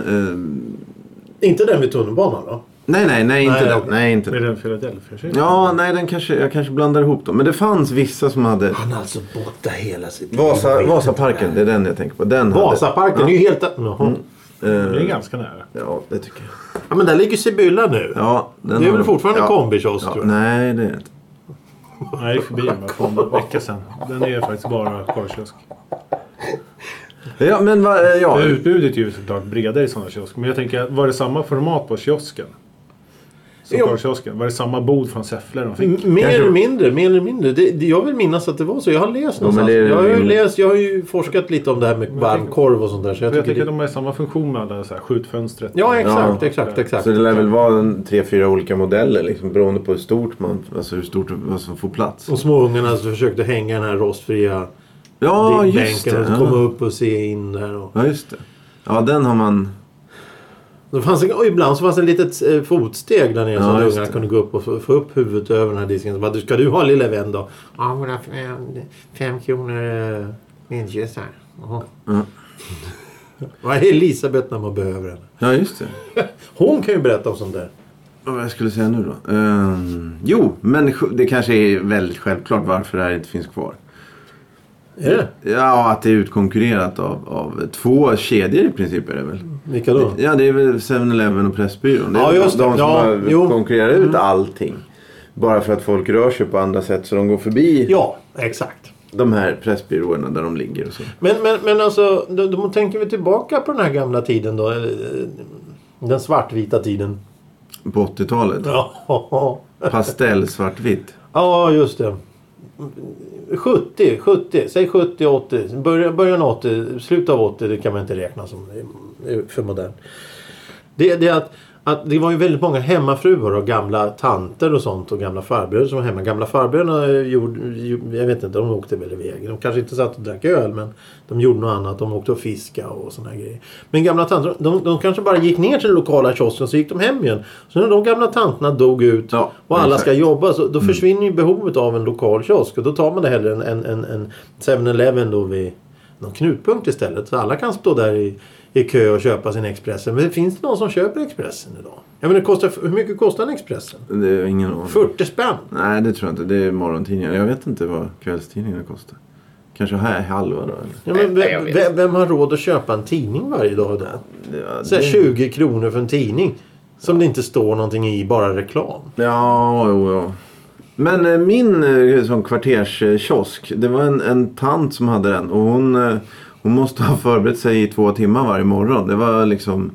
Speaker 2: eh,
Speaker 1: Inte den vid tunnelbanan då?
Speaker 2: nej, nej, nej, inte
Speaker 1: Nej.
Speaker 2: den. Nej, inte
Speaker 3: Är det en Philadelphia
Speaker 2: Ja, nej, den kanske, jag kanske blandar ihop dem. Men det fanns vissa som hade...
Speaker 1: Han är alltså borta hela sitt
Speaker 2: Vasa, Vasaparken, det är den jag tänker på. Den hade- Eh,
Speaker 1: Vasaparken, det är ju helt... Jaha.
Speaker 3: Det är ganska nära.
Speaker 2: Ja, det tycker jag.
Speaker 1: Ja, men där ligger Sibylla nu.
Speaker 2: Ja, den
Speaker 1: Det är
Speaker 2: har
Speaker 1: väl
Speaker 2: de.
Speaker 1: fortfarande
Speaker 2: ja.
Speaker 1: kombikiosk, tror jag.
Speaker 2: Nej, det är det inte.
Speaker 3: Nej, det är förbi den bara för en vecka sedan. Den är faktiskt bara korvkiosk.
Speaker 2: Ja, men va, eh, ja.
Speaker 3: Men Utbudet är ju såklart bredare i sådana kiosker. Men jag tänker, var det samma format på kiosken? Som
Speaker 1: Jo. Mm,
Speaker 3: korvkiosken? Var det samma bod från Säffle de fick?
Speaker 1: M- Mer
Speaker 2: Kanske-
Speaker 1: eller mindre, mer eller mindre. Det, det, jag vill minnas att det var så. Jag har läst
Speaker 2: men
Speaker 1: någonstans.
Speaker 2: det är-
Speaker 1: jag, har ju läst, jag har ju forskat lite om det här med varmkorv och sånt där. Så jag
Speaker 3: Jag
Speaker 1: tycker
Speaker 3: tänker
Speaker 1: det...
Speaker 3: de har samma funktion med alla så här skjutfönstret.
Speaker 1: Ja, exakt,
Speaker 2: Ja.
Speaker 1: exakt, exakt.
Speaker 2: Så det lär väl vara en, tre, fyra olika modeller liksom, beroende på hur stort man, alltså hur stort vad som får plats.
Speaker 1: Och småungarna så försökte hänga den här rostfria
Speaker 2: Ja,
Speaker 1: din-
Speaker 2: just
Speaker 1: bänken
Speaker 2: det.
Speaker 1: och komma
Speaker 2: Ja.
Speaker 1: upp och se in där. Och...
Speaker 2: ja, just det. Ja, den har man...
Speaker 1: Det fanns, en- och ibland så fanns det ett litet eh, fotsteg där nere så
Speaker 2: Ja,
Speaker 1: att
Speaker 2: just
Speaker 1: ungarna
Speaker 2: det.
Speaker 1: kunde gå upp och få, få upp huvudet över den här disken. Så bara, "Du, ska du ha lilla vän då? Ja, våra fem, fem kronor eh, vindkyssar. Jaha.
Speaker 2: Ja.
Speaker 1: Vad är Elisabeth när man behöver henne?
Speaker 2: Ja, just det.
Speaker 1: Hon kan ju berätta om sånt där.
Speaker 2: Vad var jag skulle säga nu då? Ehm, jo, men sj- det kanske är väldigt självklart varför det här inte finns kvar.
Speaker 1: Är det?
Speaker 2: Ja, att det är utkonkurrerat av, av två kedjor i princip är det väl?
Speaker 1: Vilka då?
Speaker 2: Ja, det är väl 7-Eleven och Pressbyrån. Det är
Speaker 1: Ja,
Speaker 2: väl
Speaker 1: just det.
Speaker 2: de som
Speaker 1: Ja,
Speaker 2: har
Speaker 1: jo. Mm.
Speaker 2: konkurrerat ut allting. Bara för att folk rör sig på andra sätt så de går förbi
Speaker 1: Ja, exakt.
Speaker 2: de här pressbyråerna där de ligger och så.
Speaker 1: Men, men, men alltså, då, då tänker vi tillbaka på den här gamla tiden då. eh, Den svartvita tiden.
Speaker 2: på 80-talet.
Speaker 1: <laughs> Ja,
Speaker 2: Pastell svartvitt.
Speaker 1: ja just det. 70, 70, säg 70, 80. Början, början av 80, slutet av 80, det kan man inte räkna som. Det är för modernt. Det, det, är att, att det var ju väldigt många hemmafruar och gamla tanter och sånt och gamla farbröder som var hemma. Gamla farbröderna gjorde, jag vet inte, de åkte väl iväg. De kanske inte satt och drack öl men de gjorde något annat. De åkte och fiska och såna här grejer. Men gamla tanter, de, de kanske bara gick ner till den lokala kiosken så gick de hem igen. Så när de gamla tanterna dog ut
Speaker 2: Ja,
Speaker 1: och alla ska
Speaker 2: exakt.
Speaker 1: jobba så
Speaker 4: Mm.
Speaker 1: då försvinner ju behovet av en lokal kiosk och då tar man det hellre en, en, en, en 7-Eleven då vid någon knutpunkt istället. Så alla kan stå där i, i kö och köpa sin Expressen. Men finns det någon som köper Expressen idag? Jag menar, kostar, hur mycket kostar en Expressen?
Speaker 2: Det är ingen aning.
Speaker 1: 40 spänn!
Speaker 2: Nej, det tror jag inte. Det är morgontidningar. Jag vet inte vad kvällstidningarna kostar. Kanske här halva då? Eller?
Speaker 1: Ja, men
Speaker 4: Nej, jag
Speaker 1: vem,
Speaker 4: vet.
Speaker 1: vem, vem har råd att köpa en tidning varje dag idag?
Speaker 2: Ja,
Speaker 1: Så här
Speaker 2: det-
Speaker 1: 20 kronor för en tidning. Som det inte står någonting i, bara reklam.
Speaker 2: Ja, jo, ja. Men eh, min eh, sån kvarterskiosk, det var en, en tant som hade den. Och hon, eh, hon måste ha förberett sig i två timmar varje morgon. Det var liksom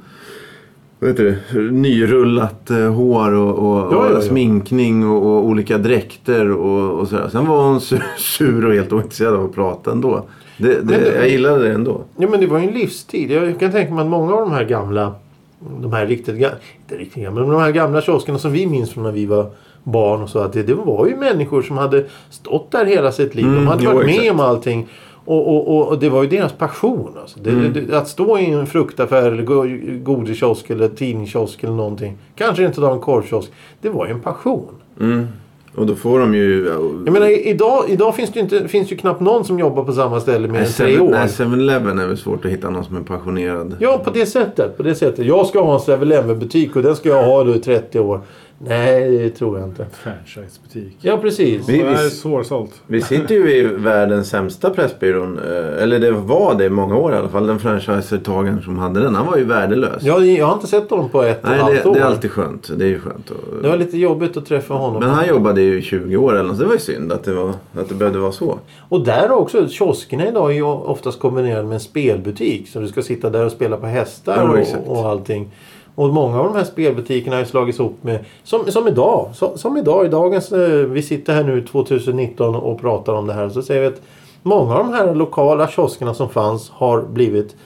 Speaker 2: vad heter det, nyrullat eh, hår och, och,
Speaker 1: Ja, ja, ja.
Speaker 2: och sminkning och, och olika dräkter och, och sådär. Sen var hon sur, <laughs> sur och helt ointresserad av att prata ändå. Det, det,
Speaker 1: det-
Speaker 2: jag gillade det ändå.
Speaker 1: Ja, men det var ju en livstid. Jag kan tänka mig att många av de här gamla, de här riktigt gamla, inte riktigt gamla, men de här gamla kioskerna som vi minns från när vi var barn och så, att det, det var ju människor som hade stått där hela sitt liv. de
Speaker 2: Mm,
Speaker 1: hade
Speaker 2: jo,
Speaker 1: varit med
Speaker 2: exakt.
Speaker 1: om allting. Och, och, och, och det var ju deras passion. Alltså. Det,
Speaker 2: Mm.
Speaker 1: det, att stå i en fruktaffär eller go- godiskiosk eller tidningskiosk eller någonting. Kanske inte då en korvkiosk. Det var ju en passion.
Speaker 2: Och då får de ju... ja, och-
Speaker 1: Jag menar i- idag, idag finns det ju, inte, finns ju knappt någon som jobbar på samma ställe mer
Speaker 2: Nej,
Speaker 1: än tre
Speaker 2: 7-
Speaker 1: år.
Speaker 2: nej, 7-Eleven är väl svårt att hitta någon som är passionerad.
Speaker 1: Ja, på det sättet. På det sättet. Jag ska ha en 7-Eleven-butik och den ska jag ha då i 30 år. Nej, det tror jag inte.
Speaker 3: Franchisebutik.
Speaker 1: Ja, precis.
Speaker 2: Vi-
Speaker 3: Det här är
Speaker 2: vi-
Speaker 3: svårsålt.
Speaker 2: Vi sitter ju i världens sämsta pressbyrån. eh, Eller det var det i många år i alla fall. Den franchisetagaren som hade den, han var ju värdelös.
Speaker 1: Jag, jag har inte sett honom på ett och ett
Speaker 2: Nej,
Speaker 1: halvt
Speaker 2: det,
Speaker 1: år.
Speaker 2: det är alltid skönt. Det är ju skönt.
Speaker 1: Det
Speaker 2: Och,
Speaker 1: var lite jobbigt att träffa honom.
Speaker 2: men han jobbade ju i 20 år eller något, så det var ju synd att det, var, att det behövde vara så.
Speaker 1: Och där också, kioskerna idag är ju oftast kombinerade med en spelbutik. Så du ska sitta där och spela på hästar
Speaker 2: Ja, exakt.
Speaker 1: och, och allting. Och många av de här spelbutikerna har ju slagits ihop med, som, som idag, som, som idag i dagens, eh, vi sitter här nu 2019 och pratar om det här. Så säger vi att många av de här lokala kioskerna som fanns har blivit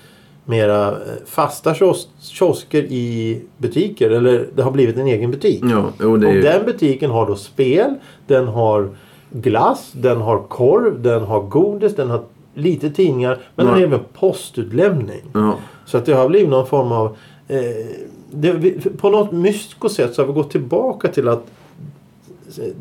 Speaker 1: mera eh, fasta kios, kiosker i butiker. Eller det har blivit en egen butik.
Speaker 2: Ja, och det är
Speaker 1: Och
Speaker 2: ju,
Speaker 1: den butiken har då spel, den har glass, den har korv, den har godis, den har lite tidningar. Men den har
Speaker 2: Mm.
Speaker 1: även postutlämning.
Speaker 2: ja.
Speaker 1: Så att det har blivit någon form av... Eh, det, vi- på något mysko sätt så har vi gått tillbaka till att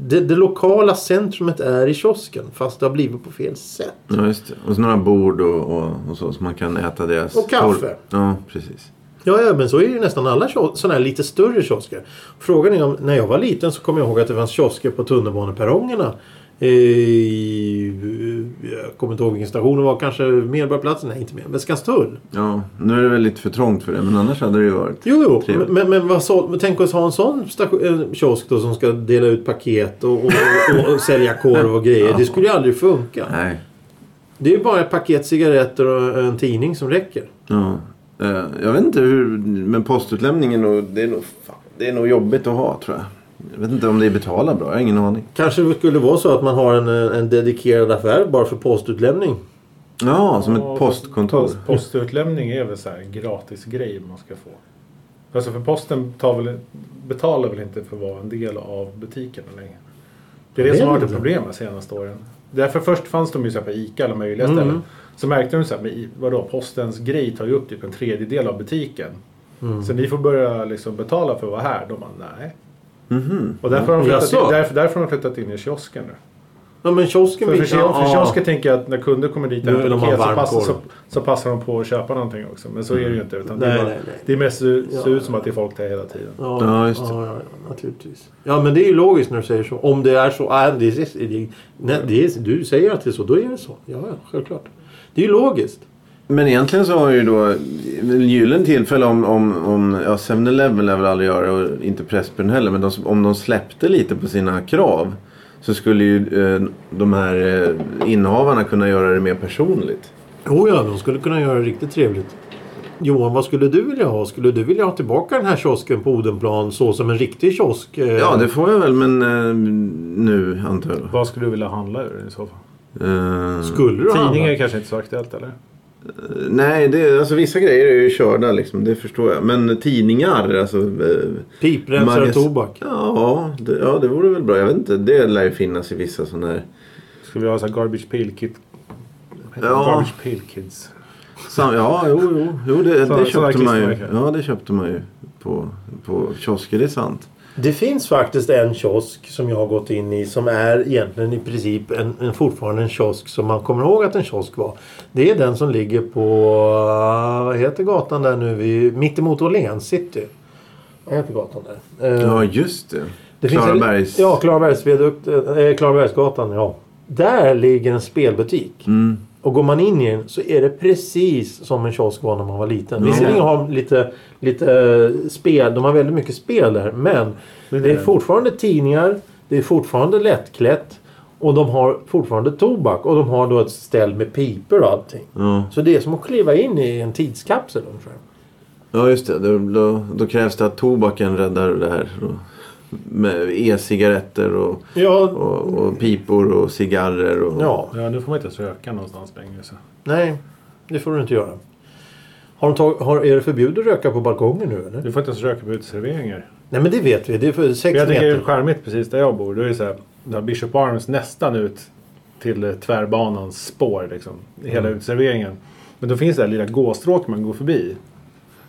Speaker 1: det, det lokala centrumet är i kiosken fast det har blivit på fel sätt.
Speaker 2: ja, just det. Och så några bord och, och, och så, så man kan äta deras...
Speaker 1: Och kaffe.
Speaker 2: Ja, precis.
Speaker 1: Ja, ja, men så är det ju nästan alla kios- sådana här lite större kiosker. Frågan är om, när jag var liten så kommer jag ihåg att det fanns kiosker på tunnelbaneperrongerna. I, jag kommer inte ihåg vilken station det var, kanske Medborgarplatsen? Nej, inte mer. Men Skanstull?
Speaker 2: Ja, nu är det väl lite för trångt för det, men annars hade det ju varit...
Speaker 1: Jo, jo.
Speaker 2: Trevligt.
Speaker 1: Men, men vad så, men tänk oss ha en sån station, en kiosk då som ska dela ut paket och, och, och, och sälja korv och grejer. Det skulle ju aldrig funka.
Speaker 2: Nej.
Speaker 1: Det är ju bara ett paket cigaretter och en tidning som räcker.
Speaker 2: Ja. Eh, jag vet inte hur, men postutlämningen och det är nog, fan, det är nog jobbigt att ha tror jag. Jag vet inte om det betalar bra, jag har ingen aning.
Speaker 1: Kanske det skulle vara så att man har en, en dedikerad affär bara för postutlämning.
Speaker 2: Ja, som
Speaker 3: Ja,
Speaker 2: ett postkontor.
Speaker 3: Post, postutlämning är väl så här gratis grej man ska få. Alltså för posten tar väl, betalar väl inte för att vara en del av butiken längre. Det är det
Speaker 1: Jag
Speaker 3: som
Speaker 1: vet
Speaker 3: har varit
Speaker 1: inte.
Speaker 3: ett problem de senaste åren. Därför först fanns de ju så här på ICA alla möjliga ställen. Så märkte de så här, men i- vadå, postens grej tar ju upp typ en tredjedel av butiken. Så ni får börja liksom betala för att vara här. De bara, nej. Och därför har, de flyttat
Speaker 1: Jaså?
Speaker 3: in, därför, därför har de flyttat in i kiosken nu.
Speaker 1: Ja, men kiosken...
Speaker 3: För,
Speaker 1: vill-
Speaker 3: för, för,
Speaker 1: ja,
Speaker 3: kiosker tänker jag att när kunder kommer dit och
Speaker 1: Nu vill
Speaker 3: äter
Speaker 1: de ha
Speaker 3: paket så
Speaker 1: varm
Speaker 3: passar, så,
Speaker 1: korv.
Speaker 3: så passar de på att köpa någonting också. Men så är det ju inte. Utan det,
Speaker 1: Mm. Nej,
Speaker 3: är bara,
Speaker 1: nej, nej.
Speaker 3: det är mest ser ser
Speaker 1: Ja.
Speaker 3: ut som att det är folk där hela tiden.
Speaker 1: Ja,
Speaker 2: Ja, just det.
Speaker 1: Ja, ja, ja, naturligtvis. Ja, men det är ju logiskt när du säger så. Om det är så. ah, det är, det, nej, det är, du säger att det är så, då är det så. Ja, ja, självklart. Det är ju logiskt.
Speaker 2: Men egentligen så har ju då en gyllene tillfälle om, om, om ja 7-Eleven lär väl aldrig göra det och inte Pressbyrån heller. Men de, som- om de släppte lite på sina krav så skulle ju eh, de här eh, innehavarna kunna göra det mer personligt.
Speaker 1: Jo, ja, de skulle kunna göra det riktigt trevligt. Johan, vad skulle du vilja ha? Skulle du vilja ha tillbaka den här kiosken på Odenplan så som en riktig kiosk? eh,
Speaker 2: Ja, det får jag väl, men eh, nu antar jag.
Speaker 3: Vad skulle du vilja handla ur i så fall?
Speaker 2: Eh,
Speaker 1: Skulle du handla?
Speaker 3: Tidningar är kanske inte så aktuellt eller?
Speaker 2: nej, det, alltså, vissa grejer är ju körda liksom, det förstår jag. Men tidningar, alltså... Eh,
Speaker 1: Piprensare
Speaker 2: Magas-
Speaker 1: och tobak?
Speaker 2: ja, det, ja, det vore väl bra. Jag vet inte, det lär ju finnas i vissa sådana här...
Speaker 3: Ska vi ha så här Garbage Pail Kid? Vad heter
Speaker 2: Ja.
Speaker 3: det? Garbage Pail Kids.
Speaker 2: Sam, ja, jo, jo, jo det,
Speaker 3: Så-
Speaker 2: det
Speaker 3: sådana
Speaker 2: köpte man ju.
Speaker 3: klistermärken.
Speaker 2: Ja, det köpte man ju på, på kiosker, det är sant.
Speaker 1: Det finns faktiskt en kiosk som jag har gått in i som är egentligen i princip en, en, fortfarande en kiosk som man kommer ihåg att en kiosk var. Det är den som ligger på, eh, vad heter gatan där nu, vid, mittemot Åhléns city. Vad heter gatan där? Eh,
Speaker 2: Ja, just det.
Speaker 1: Det finns
Speaker 2: Klarabergs...
Speaker 1: En, ja, Klarabergsviadukt, eh, Klarabergsgatan. Ja. Där ligger en spelbutik.
Speaker 2: Mm.
Speaker 1: Och går man in i den så är det precis som en kiosk var när man var liten.
Speaker 2: Ja.
Speaker 1: Visserligen har de lite, lite eh, spel, de har väldigt mycket spel där. Men det är fortfarande tidningar, det är fortfarande lättklätt. Och de har fortfarande tobak och de har då ett ställ med pipor och allting.
Speaker 2: Ja.
Speaker 1: Så det är som att kliva in i en tidskapsel ungefär.
Speaker 2: ja, just det. Då, då, då krävs det att tobaken räddar det här. Då. Med e-cigaretter och,
Speaker 1: Ja,
Speaker 2: och, och pipor och cigarrer. Och...
Speaker 1: ja,
Speaker 3: Ja, nu får man inte ens röka någonstans längre. Så.
Speaker 1: nej det får du inte göra. Har de tag- har, är det förbjudet att röka på balkongen nu eller?
Speaker 3: Du får inte ens röka på uteserveringar.
Speaker 1: Nej men det vet vi, det är för sex
Speaker 3: Jag tycker det är
Speaker 1: meter.
Speaker 3: charmigt precis där jag bor. Då är det så här, där Bishop Arms nästan ut till eh, tvärbanans spår. Liksom, i Hela
Speaker 2: Mm.
Speaker 3: uteserveringen. Men då finns det här lilla gåstråk man går förbi.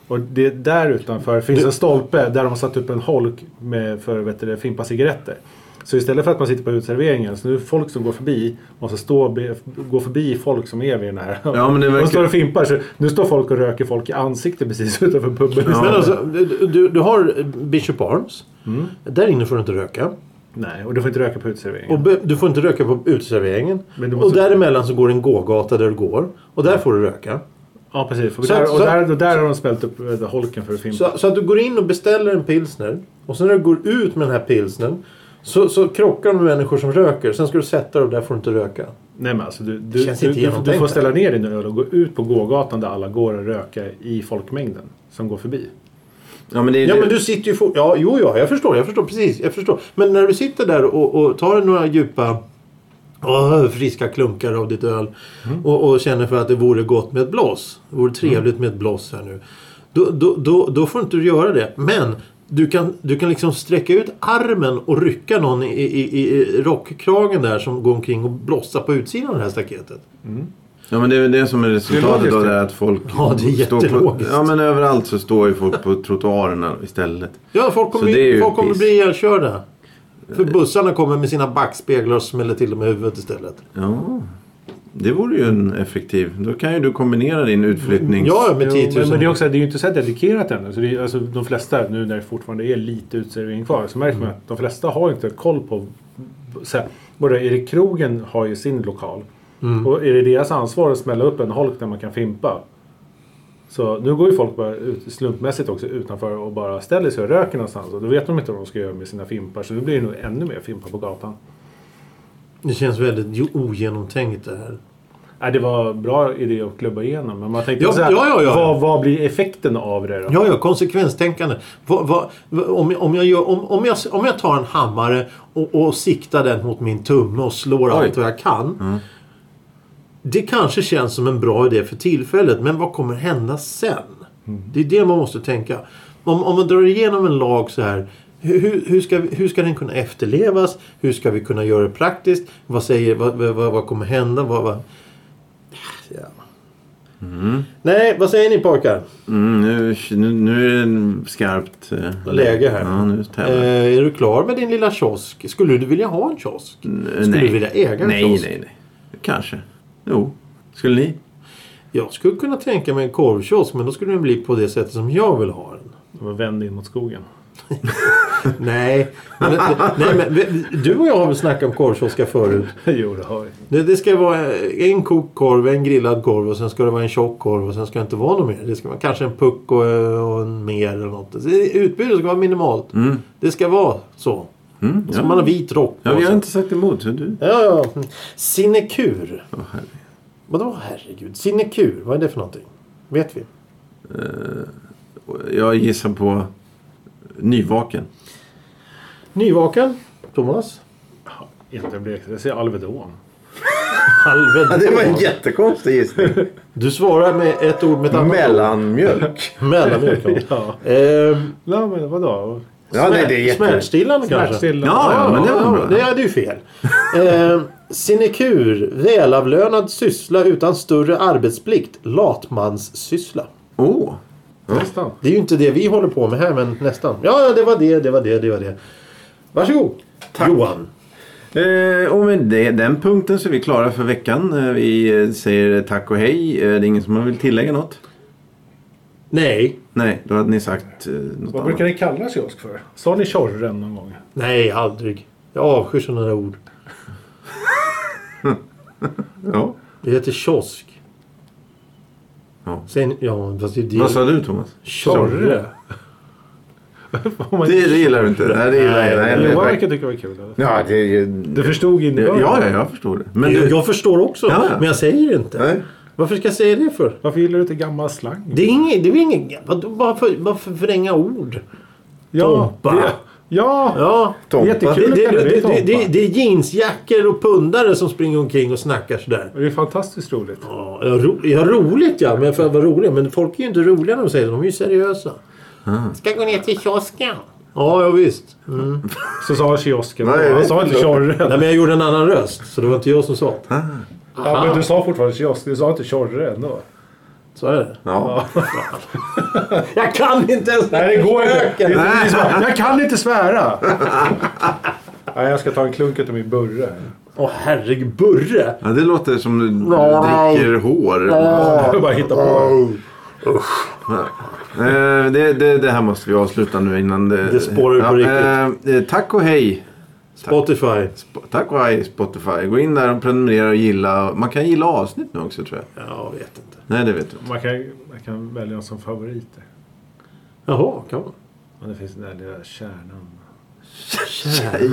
Speaker 3: Och det, där utanför finns en stolpe där de har satt upp en holk med, för vet du, det, fimpa cigaretter. Så istället för att man sitter på uteserveringen så nu är det folk som går förbi måste stå och be, gå förbi folk som är vid den här.
Speaker 2: Ja, men det
Speaker 3: De
Speaker 2: verkar-
Speaker 3: står och fimpar. Så nu står folk och röker folk i ansiktet precis <laughs> utanför puben.
Speaker 1: Men
Speaker 3: istället.
Speaker 1: alltså, du, du, du har Bishop Arms.
Speaker 3: Mm.
Speaker 1: Där inne får du inte röka.
Speaker 3: Nej, och du får inte röka på uteserveringen.
Speaker 1: Och be, du får inte röka på uteserveringen.
Speaker 3: Men du måste-
Speaker 1: Och däremellan så går det en gågata där du går. Och där får du röka.
Speaker 3: Ja precis. För
Speaker 1: Så-
Speaker 3: där, och
Speaker 1: så-
Speaker 3: där, och där har de smält upp eh, holken för film.
Speaker 1: Så, så att du går in och beställer en pilsner. Och sen när du går ut med den här pilsnern. Så, så krockar du med människor som röker. Sen ska du sätta dig och där får du inte röka.
Speaker 3: Nej men alltså du, du,
Speaker 1: Känns
Speaker 3: du,
Speaker 1: inte
Speaker 3: du, du
Speaker 1: genomtänkt
Speaker 3: får
Speaker 1: det.
Speaker 3: ställa ner din öl och gå ut på gågatan där alla går och röka i folkmängden som går förbi.
Speaker 2: ja, men det är
Speaker 1: Ja
Speaker 2: det.
Speaker 1: men du sitter ju fort... Ja jo ja, jag förstår. Jag förstår precis. Jag förstår. Men när du sitter där och, och tar några djupa åh, friska klunkar av ditt öl.
Speaker 2: Mm.
Speaker 1: Och, och känner för att det vore gott med ett blås. Det vore trevligt med ett blås här nu. Då, då, då, då får inte du göra det. Men du kan, du kan liksom sträcka ut armen och rycka någon i, i, i i rockkragen där som går omkring och blossar på utsidan av det här staketet.
Speaker 2: Ja, men det är väl det som är resultatet
Speaker 3: logiskt,
Speaker 2: av det
Speaker 3: ja.
Speaker 2: här att folk...
Speaker 1: Ja, det är
Speaker 2: står på,
Speaker 1: jättelogiskt.
Speaker 2: Ja, men överallt så står ju folk på trottoarerna istället.
Speaker 1: Ja, folk
Speaker 2: Så
Speaker 1: kommer,
Speaker 2: det är ju
Speaker 1: folk kommer
Speaker 2: piss. Eh.
Speaker 1: bli ihjälkörda. För bussarna kommer med sina backspeglar och smäller till dem i huvudet istället.
Speaker 2: Ja, det vore ju en effektiv... Då kan ju du kombinera din utflyttnings...
Speaker 1: Ja, med
Speaker 3: Jo,
Speaker 1: 10 000.
Speaker 3: men, men det är också det är ju inte så här dedikerat ännu. Så det är, alltså, de flesta, nu när det fortfarande är lite uteservering kvar, så märker man
Speaker 1: Mm.
Speaker 3: att de flesta har inte koll på... Så här, både Erik Krogen har ju sin lokal.
Speaker 1: Mm.
Speaker 3: Och är det deras ansvar att smälla upp en holk där man kan fimpa? Så nu går ju folk bara ut, slumpmässigt också utanför och bara ställer sig och röker någonstans. Och då vet de inte vad de ska göra med sina fimpar. Så då blir det nog ännu mer fimpar på gatan.
Speaker 1: Det känns väldigt jo- ogenomtänkt det här.
Speaker 3: Nej, Äh, det var bra idé att klubba igenom. Men man tänkte
Speaker 1: Ja,
Speaker 3: så här,
Speaker 1: ja, ja, ja.
Speaker 3: Vad, vad blir effekten av det då?
Speaker 1: Ja, ja, konsekvenstänkande. Va, va, va, om, jag- om, jag gör, om, om, jag, om jag tar en hammare och, och siktar den mot min tumme och slår
Speaker 2: Oj.
Speaker 1: allt vad jag kan. Det kanske känns som en bra idé för tillfället, men vad kommer hända sen? Det är det man måste tänka. Om, om man drar igenom en lag så här. hu- Hur, hur, ska, vi- hur ska den kunna efterlevas? Hur ska vi kunna göra det praktiskt? Vad, säger, vad, vad, vad vad kommer hända? Vad, vad... Ja. Nej, vad säger ni pojkar?
Speaker 2: Mm, nu, nu, nu är det skarpt eh,
Speaker 1: Läge här.
Speaker 2: Ja, nu tävlar jag.
Speaker 1: Eh, är du klar med din lilla kiosk? Skulle du vilja ha en kiosk? skulle
Speaker 2: nej.
Speaker 1: du vilja äga en
Speaker 2: Nej,
Speaker 1: kiosk?
Speaker 2: nej, nej. Kanske. Jo. Skulle ni?
Speaker 1: Jag skulle kunna tänka mig en korvkiosk men då skulle den bli på det sättet som jag vill ha
Speaker 2: <laughs>
Speaker 1: den.
Speaker 3: Och vänd in mot skogen.
Speaker 1: nej. Men, nej men, vi- du och jag har väl snackat om korvkioskar förut?
Speaker 3: <laughs> jo, det har vi.
Speaker 1: Det, det ska vara en kokt korv, en grillad korv och sen ska det vara en tjock korv och sen ska det inte vara något mer. Det ska vara kanske en puck och, och en mer eller något. Så Utbudet ska vara minimalt. Det ska vara så.
Speaker 2: Mm,
Speaker 1: Och så
Speaker 2: ja.
Speaker 1: man har vit rock
Speaker 2: ja, vi har
Speaker 1: sig.
Speaker 2: inte sagt emot. Så du?
Speaker 1: Ja, ja. Sinekur.
Speaker 2: Åh, herregud.
Speaker 1: Vadå herregud? Sinekur, vad är det för någonting? Vet vi?
Speaker 2: Eh, Jag gissar på nyvaken.
Speaker 1: Nyvaken, Thomas.
Speaker 3: Inte blir Jag säger Alvedon. <laughs>
Speaker 1: Alvedon.
Speaker 2: jättekonstig gissning.
Speaker 1: Du svarar med ett ord med ett annat
Speaker 2: Mellanmjölk.
Speaker 1: ord. Mellanmjölk. ja.
Speaker 3: <laughs>
Speaker 1: <laughs>
Speaker 3: Ja.
Speaker 1: Ehm,
Speaker 3: ja, men vadå?
Speaker 2: Ja, nej, det är jätte...
Speaker 1: Smärtstillande kanske?
Speaker 3: Smärtstillande.
Speaker 2: Ja, ja, men det var bra.
Speaker 1: Det hade ju fel. Eh, sinekur, välavlönad syssla utan större arbetsplikt, latmanssyssla.
Speaker 2: Åh! Oh.
Speaker 3: Nästan.
Speaker 1: Det är ju inte det vi håller på med här, men nästan. Ja, det var det, det var det, det var det. Varsågod, Johan.
Speaker 2: Eh, och med det, den punkten så är vi klara för veckan. Eh, Vi eh, säger tack och hej. Eh, det är ingen som vill tillägga något?
Speaker 1: Nej,
Speaker 2: Nej, då hade ni sagt eh, något
Speaker 3: Vad
Speaker 2: annat.
Speaker 3: brukar ni kalla kiosk för? Sa ni tjorren någon gång?
Speaker 1: nej, aldrig. Jag avskyr sådana där ord.
Speaker 2: Ja.
Speaker 1: Det heter kiosk.
Speaker 2: Ja.
Speaker 1: Sen, ja, fast det är det.
Speaker 2: Vad sa du Thomas?
Speaker 1: Tjorre.
Speaker 3: Om man-
Speaker 2: Det, det gillar du inte. Nej, det gillar jag
Speaker 1: Nej,
Speaker 2: inte.
Speaker 1: det
Speaker 3: Johan
Speaker 2: Eller-
Speaker 3: verkar tycka det var kul. eller?
Speaker 2: Ja, det är ju...
Speaker 3: Du förstod
Speaker 2: Ja,
Speaker 3: innebörden?
Speaker 2: ja, jag förstår det. Men
Speaker 1: Jag,
Speaker 2: du...
Speaker 1: jag förstår också,
Speaker 2: Ja.
Speaker 1: men jag säger inte.
Speaker 2: Nej.
Speaker 1: Varför ska jag säga det för?
Speaker 3: Varför gillar du inte gammal slang?
Speaker 1: Det är inget, det är inget, vadå, bara för, bara för förvränga ord.
Speaker 3: ja,
Speaker 1: Tompa.
Speaker 3: det- ja,
Speaker 1: Ja.
Speaker 2: Tompa.
Speaker 3: Jättekul.
Speaker 1: Det,
Speaker 3: Kul
Speaker 1: det,
Speaker 3: att kalla
Speaker 1: det,
Speaker 3: dig
Speaker 1: det,
Speaker 3: Tompa.
Speaker 1: det, det är jeansjackor och pundare som springer omkring och snackar sådär.
Speaker 3: det är fantastiskt roligt.
Speaker 1: Ja, ro, ja roligt ja, men för att vara rolig. Men folk är ju inte roliga när de säger det. De är ju seriösa. Ska gå ner till kiosken. Ja, ja visst. Mm.
Speaker 3: Så sa kiosken.
Speaker 2: Nej, jag
Speaker 3: han
Speaker 2: vet
Speaker 3: sa inte
Speaker 2: inte.
Speaker 3: tjorren.
Speaker 1: Nej, men jag gjorde en annan röst, så det var inte jag som sa det.
Speaker 3: Ja, men du sa fortfarande kiosk. Du sa inte tjorre ändå.
Speaker 1: Så är det.
Speaker 2: Ja.
Speaker 1: Jag kan inte ens
Speaker 3: Nej, det går inte. Det är inte.
Speaker 2: Nej.
Speaker 3: Jag kan inte svära. <laughs> Nej, jag ska ta en klunk utav min burre.
Speaker 1: Åh, herregud. Burre.
Speaker 2: ja, det låter som du
Speaker 1: Nej.
Speaker 2: dricker hår.
Speaker 3: Jag <laughs> bara hitta på.
Speaker 2: Eh, det, det, det här måste vi avsluta nu innan det...
Speaker 1: Det spårar på
Speaker 2: riktigt. tack och hej.
Speaker 1: Spotify.
Speaker 2: Sp- Tack och hej Spotify. Gå in där och prenumerera och gilla. Man kan gilla avsnitt nu också tror jag.
Speaker 1: Ja, jag vet inte.
Speaker 2: Nej, det vet du.
Speaker 3: Man kan, man kan välja dem som favoriter.
Speaker 1: Jaha, kan man?
Speaker 3: Men det finns den där lilla kärnan.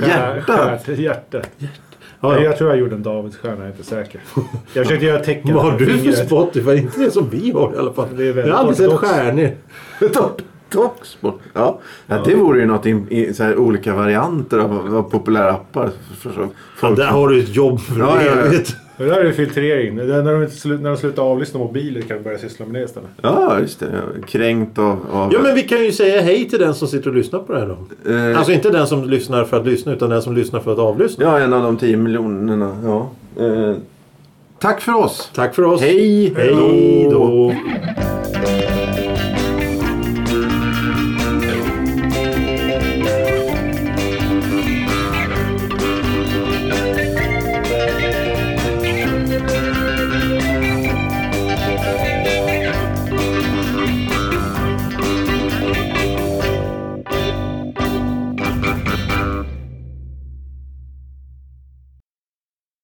Speaker 2: <laughs>
Speaker 1: <laughs>
Speaker 2: Hjärtat!
Speaker 3: Hjärtat. Hjärtat.
Speaker 1: Ja, ja.
Speaker 3: Jag tror jag gjorde en davidsstjärna, jag är inte säker. Jag försökte göra tecken.
Speaker 1: Vad har
Speaker 3: med
Speaker 1: du för
Speaker 3: fingret.
Speaker 1: Spotify? Inte det som vi har i alla fall.
Speaker 3: Det är väldigt
Speaker 1: jag har aldrig sett
Speaker 3: ortodox.
Speaker 1: stjärnor.
Speaker 2: Toxport. Ja. ja, det vore ju något i, i så här, olika varianter av, av populära appar. För, för,
Speaker 1: Ja,
Speaker 2: folk.
Speaker 1: där har du ett jobb för
Speaker 2: Ja, ja, ja.
Speaker 1: evigt.
Speaker 3: Det där är ju filtrering. Det där, när, de inte slu- när de slutar avlyssna mobiler kan de börja syssla med det istället.
Speaker 2: ja, just det. Jag är Kränkt av... av
Speaker 1: Ja, men vi kan ju säga hej till den som sitter och lyssnar på det här då.
Speaker 2: eh,
Speaker 1: Alltså inte den som lyssnar för att lyssna utan den som lyssnar för att avlyssna.
Speaker 2: ja, en av de tio miljonerna. Ja. Eh, tack för oss!
Speaker 1: Tack för oss.
Speaker 2: Hej!
Speaker 1: Hej då.